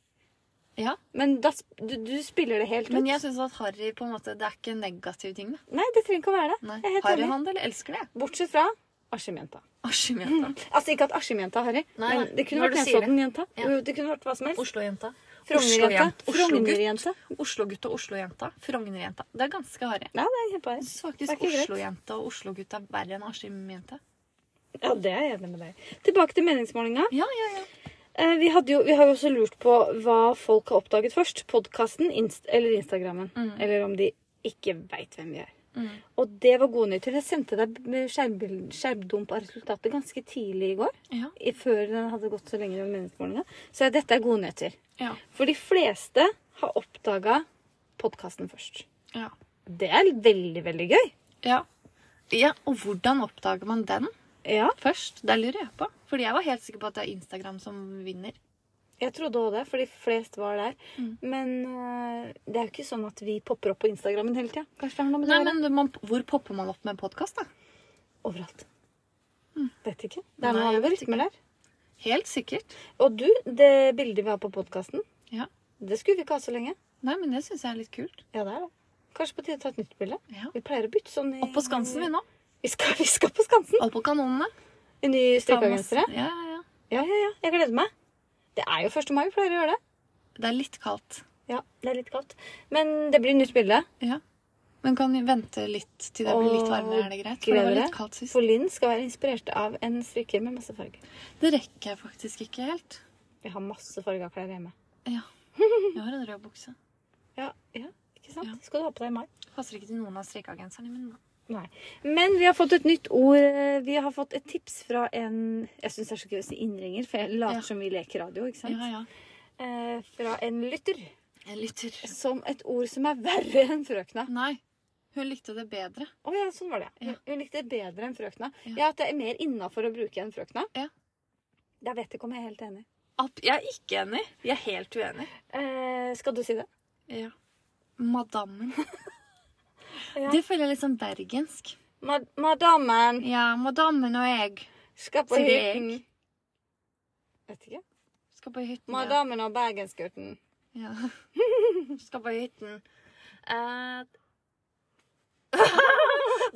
[SPEAKER 2] ja.
[SPEAKER 1] Men da, sp- du, du spiller det helt ut.
[SPEAKER 2] Men jeg syns at harry på en måte, det er ikke en negativ ting. da.
[SPEAKER 1] Nei, det trenger ikke å være det.
[SPEAKER 2] Nei.
[SPEAKER 1] Jeg er helt enig.
[SPEAKER 2] Harryhandel elsker det.
[SPEAKER 1] Bortsett fra Askim-jenta. <laughs>
[SPEAKER 2] Askim-jenta.
[SPEAKER 1] Altså ikke at Askim-jenta er harry,
[SPEAKER 2] Nei,
[SPEAKER 1] men
[SPEAKER 2] nei.
[SPEAKER 1] det kunne
[SPEAKER 2] Når
[SPEAKER 1] vært
[SPEAKER 2] du sier det.
[SPEAKER 1] Nesodden-jenta.
[SPEAKER 2] Ja.
[SPEAKER 1] Jo, Det kunne vært hva som helst.
[SPEAKER 2] Oslo-jenta.
[SPEAKER 1] Frogner-jenta.
[SPEAKER 2] Oslo-jenta.
[SPEAKER 1] Frogner-jenta.
[SPEAKER 2] Oslo-gutt og Oslo-jenta. Frogner-jenta. Det er ganske harry.
[SPEAKER 1] Nei, det er kjempeharry.
[SPEAKER 2] Jeg synes
[SPEAKER 1] Det er
[SPEAKER 2] faktisk
[SPEAKER 1] ikke greit.
[SPEAKER 2] Oslo-jente og Oslo-gutt er verre enn Askim-jente.
[SPEAKER 1] Ja, det er jeg enig med deg. Tilbake til meningsmålinga.
[SPEAKER 2] Ja, ja, ja.
[SPEAKER 1] Eh, vi, hadde jo, vi har jo også lurt på hva folk har oppdaget først. Podkasten inst eller Instagrammen. Eller om de ikke veit hvem vi er.
[SPEAKER 2] Mm.
[SPEAKER 1] Og det var gode nyheter. Jeg sendte deg b- skjermbild- skjermdump av resultatet ganske tidlig i går.
[SPEAKER 2] Ja.
[SPEAKER 1] i- Før den hadde gått så lenge med meningsmålinga. Så dette er gode nyheter.
[SPEAKER 2] Ja.
[SPEAKER 1] For de fleste har oppdaga podkasten først.
[SPEAKER 2] ja.
[SPEAKER 1] Det er veldig, veldig gøy.
[SPEAKER 2] ja. ja og hvordan oppdager man den
[SPEAKER 1] Ja,
[SPEAKER 2] først? Det lurer jeg på. Fordi jeg var helt sikker på at det er Instagram som vinner.
[SPEAKER 1] jeg trodde òg det, for de flest var der.
[SPEAKER 2] Mm.
[SPEAKER 1] Men øh, det er jo ikke sånn at vi popper opp på Instagrammen hele tida. Kanskje det har noe med det
[SPEAKER 2] Nei,
[SPEAKER 1] å gjøre?
[SPEAKER 2] men man, Hvor popper man opp med en podkast, da?
[SPEAKER 1] Overalt. Mm. Vet ikke. Det er
[SPEAKER 2] Nei,
[SPEAKER 1] noen
[SPEAKER 2] jeg vet
[SPEAKER 1] algoritmer der.
[SPEAKER 2] Helt sikkert.
[SPEAKER 1] Og du, det bildet vi har på podkasten,
[SPEAKER 2] Ja.
[SPEAKER 1] det skulle vi ikke ha så lenge.
[SPEAKER 2] Nei, men det syns jeg er litt kult.
[SPEAKER 1] Ja, det er det. Kanskje på tide å ta et nytt bilde.
[SPEAKER 2] Ja.
[SPEAKER 1] Vi pleier å bytte sånn i
[SPEAKER 2] Opp på Skansen vi nå.
[SPEAKER 1] Vi skal, vi skal på Skansen!
[SPEAKER 2] Opp på kanonene.
[SPEAKER 1] I ny
[SPEAKER 2] Ta masse-
[SPEAKER 1] strikkeagensere.
[SPEAKER 2] Ja, ja, ja.
[SPEAKER 1] Ja, ja, ja. Jeg gleder meg. Det er jo 1. mai vi pleier å gjøre det.
[SPEAKER 2] Det er litt kaldt.
[SPEAKER 1] Ja, det er litt kaldt. Men det blir nytt bilde.
[SPEAKER 2] Ja. Men kan vi vente litt til det blir litt
[SPEAKER 1] Åh,
[SPEAKER 2] varmere? Er det greit? For det
[SPEAKER 1] gleder
[SPEAKER 2] var
[SPEAKER 1] deg.
[SPEAKER 2] litt kaldt sist.
[SPEAKER 1] For Linn skal være inspirert av en strikker med masse farger.
[SPEAKER 2] Det rekker jeg faktisk ikke helt.
[SPEAKER 1] Vi har masse farga klær hjemme.
[SPEAKER 2] Ja. Jeg har en rød bukse.
[SPEAKER 1] Ja, ja, ikke sant?
[SPEAKER 2] Ja.
[SPEAKER 1] Skal du ha på deg i mai?
[SPEAKER 2] Passer ikke til noen av strikkeagenserne mine.
[SPEAKER 1] Nei. Men vi har fått et nytt ord. Vi har fått et tips fra en Jeg syns det er så gøy å si innringer, for jeg later
[SPEAKER 2] Ja.
[SPEAKER 1] som vi leker radio. ikke
[SPEAKER 2] da.
[SPEAKER 1] sant?
[SPEAKER 2] ja.
[SPEAKER 1] Eh, fra en lytter.
[SPEAKER 2] Jeg lytter.
[SPEAKER 1] Som et ord som er verre enn frøkna.
[SPEAKER 2] Nei. Hun likte det bedre.
[SPEAKER 1] Å ja, sånn var det.
[SPEAKER 2] Ja.
[SPEAKER 1] Hun- Hun likte det bedre enn frøkna.
[SPEAKER 2] Ja.
[SPEAKER 1] Ja, at det er mer innafor å bruke enn frøkna.
[SPEAKER 2] Ja.
[SPEAKER 1] Jeg vet ikke om jeg er helt enig.
[SPEAKER 2] Ab- Jeg er ikke enig. Jeg er helt uenig.
[SPEAKER 1] Eh, skal du si det?
[SPEAKER 2] Ja. <laughs> Madammen.
[SPEAKER 1] Ja.
[SPEAKER 2] Det føler jeg litt sånn bergensk.
[SPEAKER 1] Mad Madammen
[SPEAKER 2] Ja, madammen og jeg
[SPEAKER 1] skal på
[SPEAKER 2] Sier jeg.
[SPEAKER 1] hytten. Vet ikke.
[SPEAKER 2] skal på hytten. ja.
[SPEAKER 1] Madammen og bergensgutten.
[SPEAKER 2] Ja. <laughs> Skal på hytten. Eh, <laughs>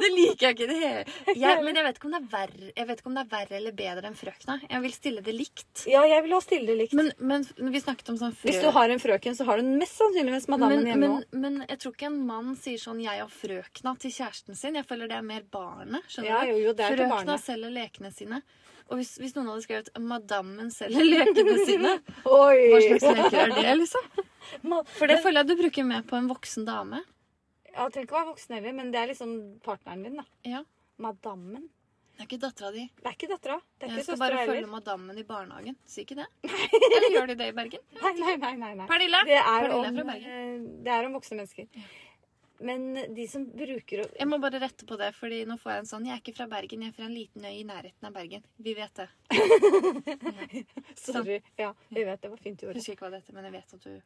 [SPEAKER 2] det liker jeg ikke. Det hele. <laughs> jeg, men jeg vet, ikke om det er verre, jeg vet ikke om det er verre eller bedre enn frøkna. Jeg vil stille det likt.
[SPEAKER 1] Ja, jeg vil ha stille det likt.
[SPEAKER 2] Men, men vi snakket om sånn frø...
[SPEAKER 1] Hvis du har en frøken, så har du mest sannsynligvis madammen
[SPEAKER 2] men,
[SPEAKER 1] hjemme
[SPEAKER 2] men,
[SPEAKER 1] òg.
[SPEAKER 2] men jeg tror ikke en mann sier sånn 'jeg og frøkna' til kjæresten sin. Jeg føler det er mer barnet. skjønner
[SPEAKER 1] Ja,
[SPEAKER 2] du?
[SPEAKER 1] jo, jo, det er til
[SPEAKER 2] frøkna
[SPEAKER 1] barnet.
[SPEAKER 2] selger lekene sine. Og hvis, hvis noen hadde skrevet 'madammen selger lekene sine', hva slags
[SPEAKER 1] <laughs> Oi! <laughs>
[SPEAKER 2] leker er det? liksom?
[SPEAKER 1] Ma-
[SPEAKER 2] For det føler jeg du bruker mer på en voksen dame.
[SPEAKER 1] Ja, du trenger ikke å være voksen heller, men det er liksom partneren din, da.
[SPEAKER 2] Ja.
[SPEAKER 1] Madammen.
[SPEAKER 2] Det er ikke dattera di.
[SPEAKER 1] Det er ikke dattera. Det er
[SPEAKER 2] Jeg
[SPEAKER 1] ikke
[SPEAKER 2] skal
[SPEAKER 1] søstera
[SPEAKER 2] bare følge
[SPEAKER 1] heller.
[SPEAKER 2] madammen i barnehagen. Sier ikke det? Eller gjør de det i
[SPEAKER 1] <laughs>
[SPEAKER 2] Bergen?
[SPEAKER 1] Nei, <laughs> nei, nei, nei, nei.
[SPEAKER 2] Pernille!
[SPEAKER 1] Det er,
[SPEAKER 2] Pernille er
[SPEAKER 1] om,
[SPEAKER 2] fra Bergen.
[SPEAKER 1] eh, det er om voksne mennesker. Men de som bruker å
[SPEAKER 2] Jeg må bare rette på det, fordi nå får jeg en sånn Jeg er ikke fra Bergen, jeg er fra en liten øy i nærheten av Bergen. Vi vet det.
[SPEAKER 1] <laughs>
[SPEAKER 2] Sånn.
[SPEAKER 1] Sorry. Ja, vi vet det var fint du
[SPEAKER 2] Jeg
[SPEAKER 1] gjorde.
[SPEAKER 2] husker ikke hva det heter, men jeg vet at du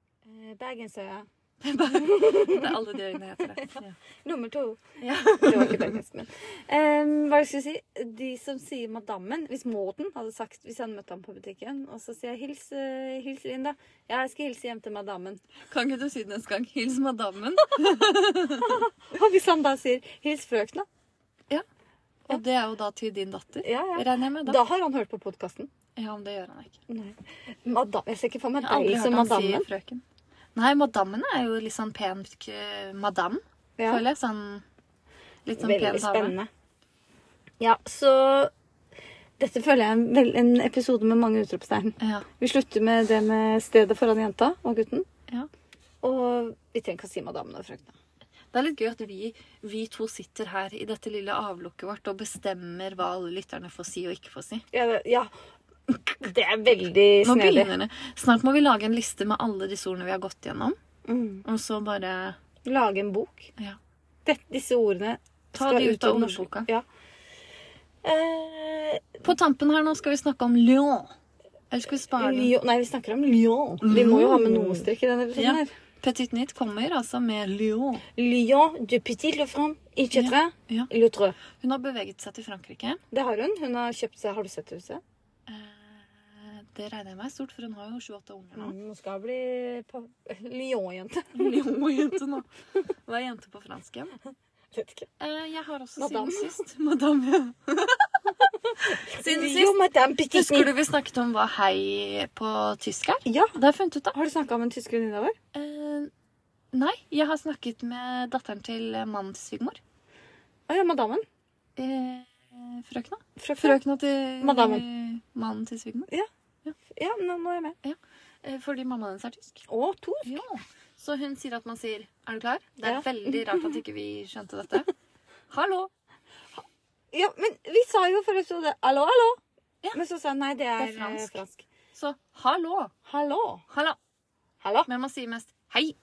[SPEAKER 2] <laughs>
[SPEAKER 1] Eh, Bergensøya.
[SPEAKER 2] Det er alle de øyene heter det. Ja.
[SPEAKER 1] Nummer to.
[SPEAKER 2] Ja.
[SPEAKER 1] Det var ikke bergensk, men Em, Hva skal jeg si? De som sier madammen Hvis Morten hadde sagt Hvis han møtte ham på butikken, og så sier jeg hils, eh, hils Linn, da. Ja, jeg skal hilse hjem til madammen.
[SPEAKER 2] Kan ikke du si det neste gang? Hils madammen.
[SPEAKER 1] Og hvis han da sier hils frøkna,
[SPEAKER 2] Og det er jo da til din datter.
[SPEAKER 1] Ja, ja.
[SPEAKER 2] Regner jeg med, da.
[SPEAKER 1] da har han hørt på podkasten.
[SPEAKER 2] Ja, men det gjør han ikke.
[SPEAKER 1] Madam, jeg ser ikke for meg
[SPEAKER 2] Jeg har aldri
[SPEAKER 1] deg som
[SPEAKER 2] hørt han si
[SPEAKER 1] madammen.
[SPEAKER 2] frøken. Nei, madammen er jo litt sånn pen k- madam,
[SPEAKER 1] Ja.
[SPEAKER 2] føler jeg. Sånn litt sånn
[SPEAKER 1] Veldig
[SPEAKER 2] pen dame.
[SPEAKER 1] spennende. Ja, så dette føler jeg er en, vel- en episode med mange utropstegn.
[SPEAKER 2] Ja.
[SPEAKER 1] Vi slutter med det med stedet foran jenta og gutten.
[SPEAKER 2] ja.
[SPEAKER 1] Og vi trenger ikke å si madammen og frøkna.
[SPEAKER 2] Det er litt gøy at vi, vi to sitter her i dette lille avlukket vårt og bestemmer hva alle lytterne får si og ikke får si.
[SPEAKER 1] Ja, det, ja. det er veldig
[SPEAKER 2] Nå
[SPEAKER 1] snedig.
[SPEAKER 2] begynner det. Snart må vi lage en liste med alle disse ordene vi har gått gjennom.
[SPEAKER 1] Mm.
[SPEAKER 2] Og så bare
[SPEAKER 1] Lage en bok.
[SPEAKER 2] ja.
[SPEAKER 1] Det, disse ordene
[SPEAKER 2] Ta
[SPEAKER 1] skal
[SPEAKER 2] de ut av
[SPEAKER 1] den norske-
[SPEAKER 2] ordboka.
[SPEAKER 1] Ja. Eh,
[SPEAKER 2] På tampen her nå skal vi snakke om Lyon. Eller skal vi spare den?
[SPEAKER 1] Lyon Nei, vi snakker om Lyon. Vi må jo ha med noe strekk i denne episoden.
[SPEAKER 2] Mm. Ja.
[SPEAKER 1] her.
[SPEAKER 2] Petit Nytt kommer altså med Lyon.
[SPEAKER 1] Lyon du petit le front, ikke
[SPEAKER 2] Ja,
[SPEAKER 1] tre,
[SPEAKER 2] ja.
[SPEAKER 1] le tre.
[SPEAKER 2] Hun har beveget seg til Frankrike.
[SPEAKER 1] Det har hun. Hun har kjøpt seg Har du sett huset?
[SPEAKER 2] Eh, Det regner jeg med er stort, for hun har jo 28 unger nå.
[SPEAKER 1] Mm, Hun skal bli pa- <laughs> Lyon-jente.
[SPEAKER 2] Lyon-jente nå. <laughs> Hva er jente på fransk igjen?
[SPEAKER 1] Vet ikke.
[SPEAKER 2] Eh, Jeg har også
[SPEAKER 1] Madame.
[SPEAKER 2] siden sist Madame, ja. Siden
[SPEAKER 1] Jo,
[SPEAKER 2] sist
[SPEAKER 1] madame petit
[SPEAKER 2] husker du vi snakket om hva hei på tysk er?
[SPEAKER 1] Ja.
[SPEAKER 2] Det har jeg funnet ut av.
[SPEAKER 1] Har du snakka med en tysk venninne vår?
[SPEAKER 2] Eh, Nei, jeg har snakket med datteren til eh, mannens svigermor.
[SPEAKER 1] Å ja, madammen.
[SPEAKER 2] Eh, Frøkna.
[SPEAKER 1] Fra Frø...
[SPEAKER 2] Frøkna til
[SPEAKER 1] Madammen.
[SPEAKER 2] Mannen til svigermor.
[SPEAKER 1] Ja, nå, nå er jeg med.
[SPEAKER 2] Eh, Fordi mammaen hennes er tysk.
[SPEAKER 1] Å, Tor.
[SPEAKER 2] Ja. Så hun sier at man sier 'er du klar?' Det er
[SPEAKER 1] Ja.
[SPEAKER 2] veldig rart at ikke vi skjønte dette. <laughs> Hallo!
[SPEAKER 1] Ja, men vi sa jo forrige episode 'hallo, hallo'.
[SPEAKER 2] Ja.
[SPEAKER 1] Men så sa hun nei, det er,
[SPEAKER 2] Det er fransk.
[SPEAKER 1] eh, fransk.
[SPEAKER 2] Så hallo!
[SPEAKER 1] Hallo.
[SPEAKER 2] Halla!
[SPEAKER 1] Hallo.
[SPEAKER 2] Men man sier mest 'hei'.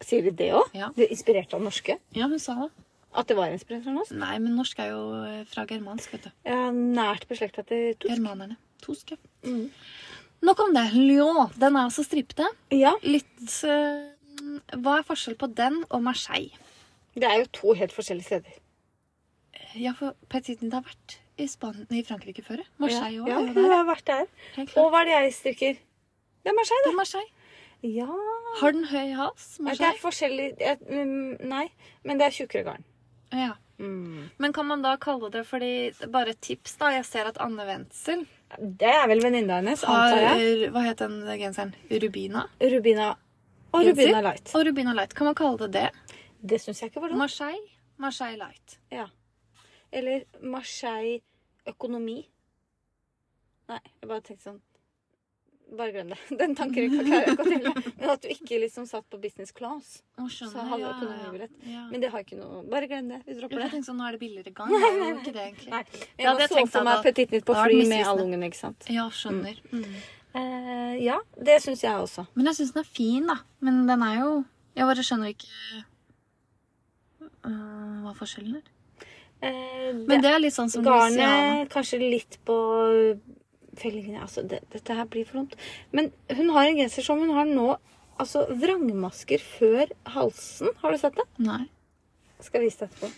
[SPEAKER 1] Sier de det òg?
[SPEAKER 2] Ja.
[SPEAKER 1] Du er inspirert av norske?
[SPEAKER 2] Ja, hun sa det.
[SPEAKER 1] At det var inspirert av norsk?
[SPEAKER 2] Nei, men norsk er jo eh, fra germansk, vet du.
[SPEAKER 1] Ja, nært beslekta til Tor.
[SPEAKER 2] Germanerne. Tosk, ja.
[SPEAKER 1] Mm.
[SPEAKER 2] Nok om det. Lyon. Den er altså stripete.
[SPEAKER 1] Ja.
[SPEAKER 2] Litt eh, Hva er forskjell på den og Marseille?
[SPEAKER 1] Det er jo to helt forskjellige steder.
[SPEAKER 2] Ja, for Petit Nid har vært i, Span i Frankrike før. ja. Marseille òg.
[SPEAKER 1] Ja,
[SPEAKER 2] er jo
[SPEAKER 1] jeg
[SPEAKER 2] der.
[SPEAKER 1] har vært der.
[SPEAKER 2] Helt
[SPEAKER 1] Og
[SPEAKER 2] klart.
[SPEAKER 1] hva er det jeg strikker? Det er Marseille,
[SPEAKER 2] Det er Marseille.
[SPEAKER 1] da. Ja
[SPEAKER 2] Har den høy hals?
[SPEAKER 1] Nei, Det er
[SPEAKER 2] Marseille?
[SPEAKER 1] forskjellig jeg- mm, Nei, men det er tjukkere garn.
[SPEAKER 2] Ja. Men kan man da kalle det fordi Bare et tips, da. Jeg ser at Anne Wendsel
[SPEAKER 1] Det er vel venninna hennes,
[SPEAKER 2] har
[SPEAKER 1] antar jeg.
[SPEAKER 2] Hva het den genseren? Rubina?
[SPEAKER 1] Rubina og
[SPEAKER 2] Genser?
[SPEAKER 1] Rubina Light.
[SPEAKER 2] Og Rubina Light. Kan man kalle det det?
[SPEAKER 1] Det syns jeg ikke var dumt.
[SPEAKER 2] Marseille? Marseille Light.
[SPEAKER 1] Ja. Eller Marseille økonomi. Nei, jeg bare tenkte sånn Bare glem det. <laughs> Den tanken klarer jeg ikke å tenke. Men at du ikke liksom satt på business class.
[SPEAKER 2] Å,
[SPEAKER 1] Så
[SPEAKER 2] skjønner.
[SPEAKER 1] halve
[SPEAKER 2] ja, ja,
[SPEAKER 1] økonomibillett.
[SPEAKER 2] Ja.
[SPEAKER 1] Men det har ikke noe Bare glem det. Vi
[SPEAKER 2] Ja,
[SPEAKER 1] dropper
[SPEAKER 2] for
[SPEAKER 1] det.
[SPEAKER 2] jeg tenkte sånn, Nå er det billigere gang. Det er jo ikke det, egentlig.
[SPEAKER 1] <laughs> Nei.
[SPEAKER 2] Ja,
[SPEAKER 1] Jeg
[SPEAKER 2] det
[SPEAKER 1] bare så
[SPEAKER 2] tenkte
[SPEAKER 1] for
[SPEAKER 2] jeg
[SPEAKER 1] meg
[SPEAKER 2] da.
[SPEAKER 1] Petit Nytt på
[SPEAKER 2] Da er det
[SPEAKER 1] fly med
[SPEAKER 2] misvisende.
[SPEAKER 1] alle ungene, ikke sant.
[SPEAKER 2] Ja, skjønner. Mm.
[SPEAKER 1] Eh, ja, det syns jeg også.
[SPEAKER 2] Men jeg syns den er fin, da. Men den er jo Jeg bare skjønner ikke øh, hva forskjellen er.
[SPEAKER 1] Eh,
[SPEAKER 2] Men
[SPEAKER 1] det,
[SPEAKER 2] det er litt sånn som Louisiana.
[SPEAKER 1] garnet kanskje litt på fellingene Altså, det, dette her blir for dumt. Men hun har en genser som hun har nå. Altså vrangmasker før halsen. Har du sett det?
[SPEAKER 2] Nei.
[SPEAKER 1] Skal vise deg etterpå.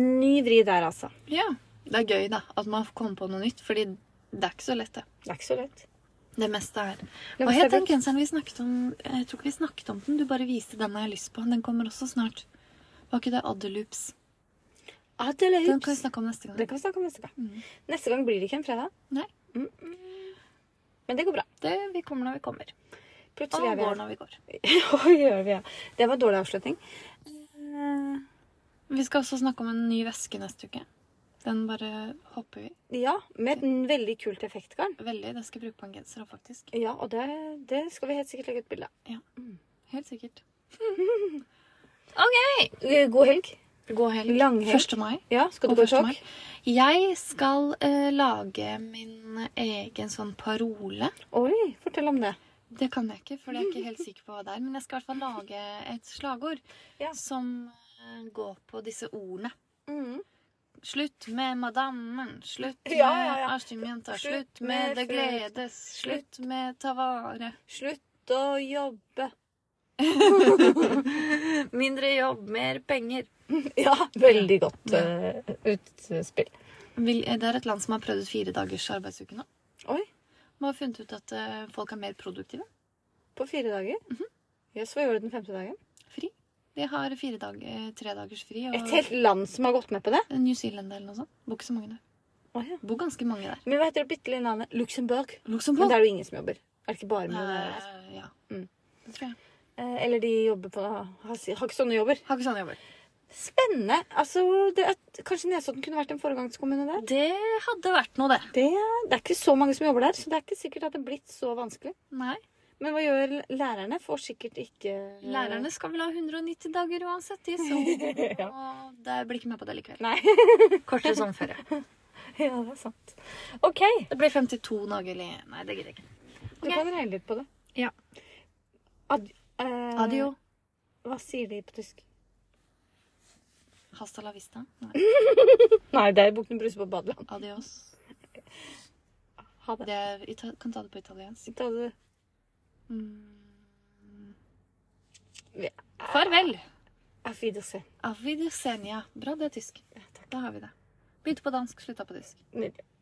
[SPEAKER 1] Ny vri der, altså.
[SPEAKER 2] Ja. Det er gøy, da. At man kommer på noe nytt. Fordi det er ikke så lett, det.
[SPEAKER 1] Det er ikke så lett.
[SPEAKER 2] Det meste er
[SPEAKER 1] Det
[SPEAKER 2] Hva
[SPEAKER 1] meste er
[SPEAKER 2] het den
[SPEAKER 1] brukt.
[SPEAKER 2] genseren vi snakket om? Jeg tror ikke vi snakket om den. Du bare viste den jeg har lyst på. Den kommer også snart. Var ikke det Adeloops?
[SPEAKER 1] Adelaide.
[SPEAKER 2] Den kan vi snakke om neste
[SPEAKER 1] Det
[SPEAKER 2] gang.
[SPEAKER 1] kan vi snakke om neste gang.
[SPEAKER 2] Mm.
[SPEAKER 1] Neste gang blir det ikke en fredag.
[SPEAKER 2] Nei.
[SPEAKER 1] Mm, mm. Men det går bra.
[SPEAKER 2] Det, vi kommer når vi kommer. Og
[SPEAKER 1] Plutselig er vi <laughs>
[SPEAKER 2] går
[SPEAKER 1] her.
[SPEAKER 2] når vi går.
[SPEAKER 1] Hva gjør vi? ja? Det var en dårlig avslutning. Eh,
[SPEAKER 2] Vi skal også snakke om en ny væske neste uke. Den bare hopper vi.
[SPEAKER 1] Ja, med et veldig kult effektgarn.
[SPEAKER 2] Veldig. Den skal jeg bruke på en genser òg, faktisk.
[SPEAKER 1] Ja, og det, det skal vi helt sikkert legge ut bilde av.
[SPEAKER 2] Helt sikkert.
[SPEAKER 1] Eh, God helg.
[SPEAKER 2] Mm. God helg.
[SPEAKER 1] Lang helg.
[SPEAKER 2] 1. mai.
[SPEAKER 1] Ja, skal
[SPEAKER 2] Og
[SPEAKER 1] du gå i
[SPEAKER 2] 1.
[SPEAKER 1] tog?
[SPEAKER 2] mai. Jeg skal eh, lage min egen sånn parole.
[SPEAKER 1] Oi, fortell om det.
[SPEAKER 2] Det kan jeg ikke, for jeg er ikke helt sikker på hva det er. Men jeg skal i hvert fall lage et slagord
[SPEAKER 1] Ja.
[SPEAKER 2] som eh, går på disse ordene.
[SPEAKER 1] Mm.
[SPEAKER 2] Slutt med madammen, slutt med
[SPEAKER 1] Ja, ja, ja.
[SPEAKER 2] artiumjenta,
[SPEAKER 1] Slutt
[SPEAKER 2] slutt med
[SPEAKER 1] med
[SPEAKER 2] det
[SPEAKER 1] frukt.
[SPEAKER 2] gledes, slutt med ta vare.
[SPEAKER 1] Slutt å jobbe.
[SPEAKER 2] Mindre jobb, mer penger.
[SPEAKER 1] Ja, veldig godt eh, utspill.
[SPEAKER 2] Vil, eh, det er et land som har prøvd ut fire dagers arbeidsuke nå.
[SPEAKER 1] Oi,
[SPEAKER 2] Man har funnet ut at eh, folk er mer produktive.
[SPEAKER 1] på fire dager? Jøss,
[SPEAKER 2] Mhm.
[SPEAKER 1] hva gjør du den femte dagen?
[SPEAKER 2] Fri. De har fire dag, eh, tre dagers fri. Og
[SPEAKER 1] Et helt land som har gått med på det?
[SPEAKER 2] New Zealand eller noe sånt. Bor ikke så mange der.
[SPEAKER 1] Å, ja.
[SPEAKER 2] Bor ganske mange der.
[SPEAKER 1] Men hva heter det bitte lille landet? Luxembourg. Men
[SPEAKER 2] Luxembourg.
[SPEAKER 1] der er det jo ingen som jobber. Er det ikke bare med det?
[SPEAKER 2] Eh, ja.
[SPEAKER 1] Mm.
[SPEAKER 2] Det tror jeg.
[SPEAKER 1] Eh, Eller de jobber på har, har ikke sånn sånne jobber.
[SPEAKER 2] Har ikke sånne jobber.
[SPEAKER 1] Spennende. Altså, det er, kanskje Nesodden kunne vært en foregangskommune der?
[SPEAKER 2] Det hadde vært noe, det.
[SPEAKER 1] Det, det er ikke så mange som jobber der, så det er ikke sikkert at det er blitt så vanskelig.
[SPEAKER 2] Nei.
[SPEAKER 1] Men hva gjør lærerne? Får sikkert ikke
[SPEAKER 2] Eh. Lærerne skal vel ha 190 dager uansett,
[SPEAKER 1] <laughs>
[SPEAKER 2] de, så Og det blir ikke med på det likevel.
[SPEAKER 1] Nei.
[SPEAKER 2] <laughs> Kortere sånn før, ja.
[SPEAKER 1] <laughs> ja, det er sant. OK.
[SPEAKER 2] Det blir 52 dager i Nei, det gidder jeg ikke.
[SPEAKER 1] Du
[SPEAKER 2] Ok.
[SPEAKER 1] kan regne litt på det.
[SPEAKER 2] Ja.
[SPEAKER 1] Ad, eh,
[SPEAKER 2] Adio.
[SPEAKER 1] Hva sier de på tysk?
[SPEAKER 2] Hasta la vista. Nei.
[SPEAKER 1] Nei, det er Bukken Bruse på badeland.
[SPEAKER 2] Adios.
[SPEAKER 1] Ha det.
[SPEAKER 2] Det er, ita- kan ta det på italiensk.
[SPEAKER 1] Ta det.
[SPEAKER 2] Mm.
[SPEAKER 1] Vi-
[SPEAKER 2] Farvel.
[SPEAKER 1] Auf Wiedersehen.
[SPEAKER 2] Avidusenia. Bra, det er tysk.
[SPEAKER 1] takk.
[SPEAKER 2] Da har vi det. Begynte på dansk, slutta på tysk.
[SPEAKER 1] Nydelig.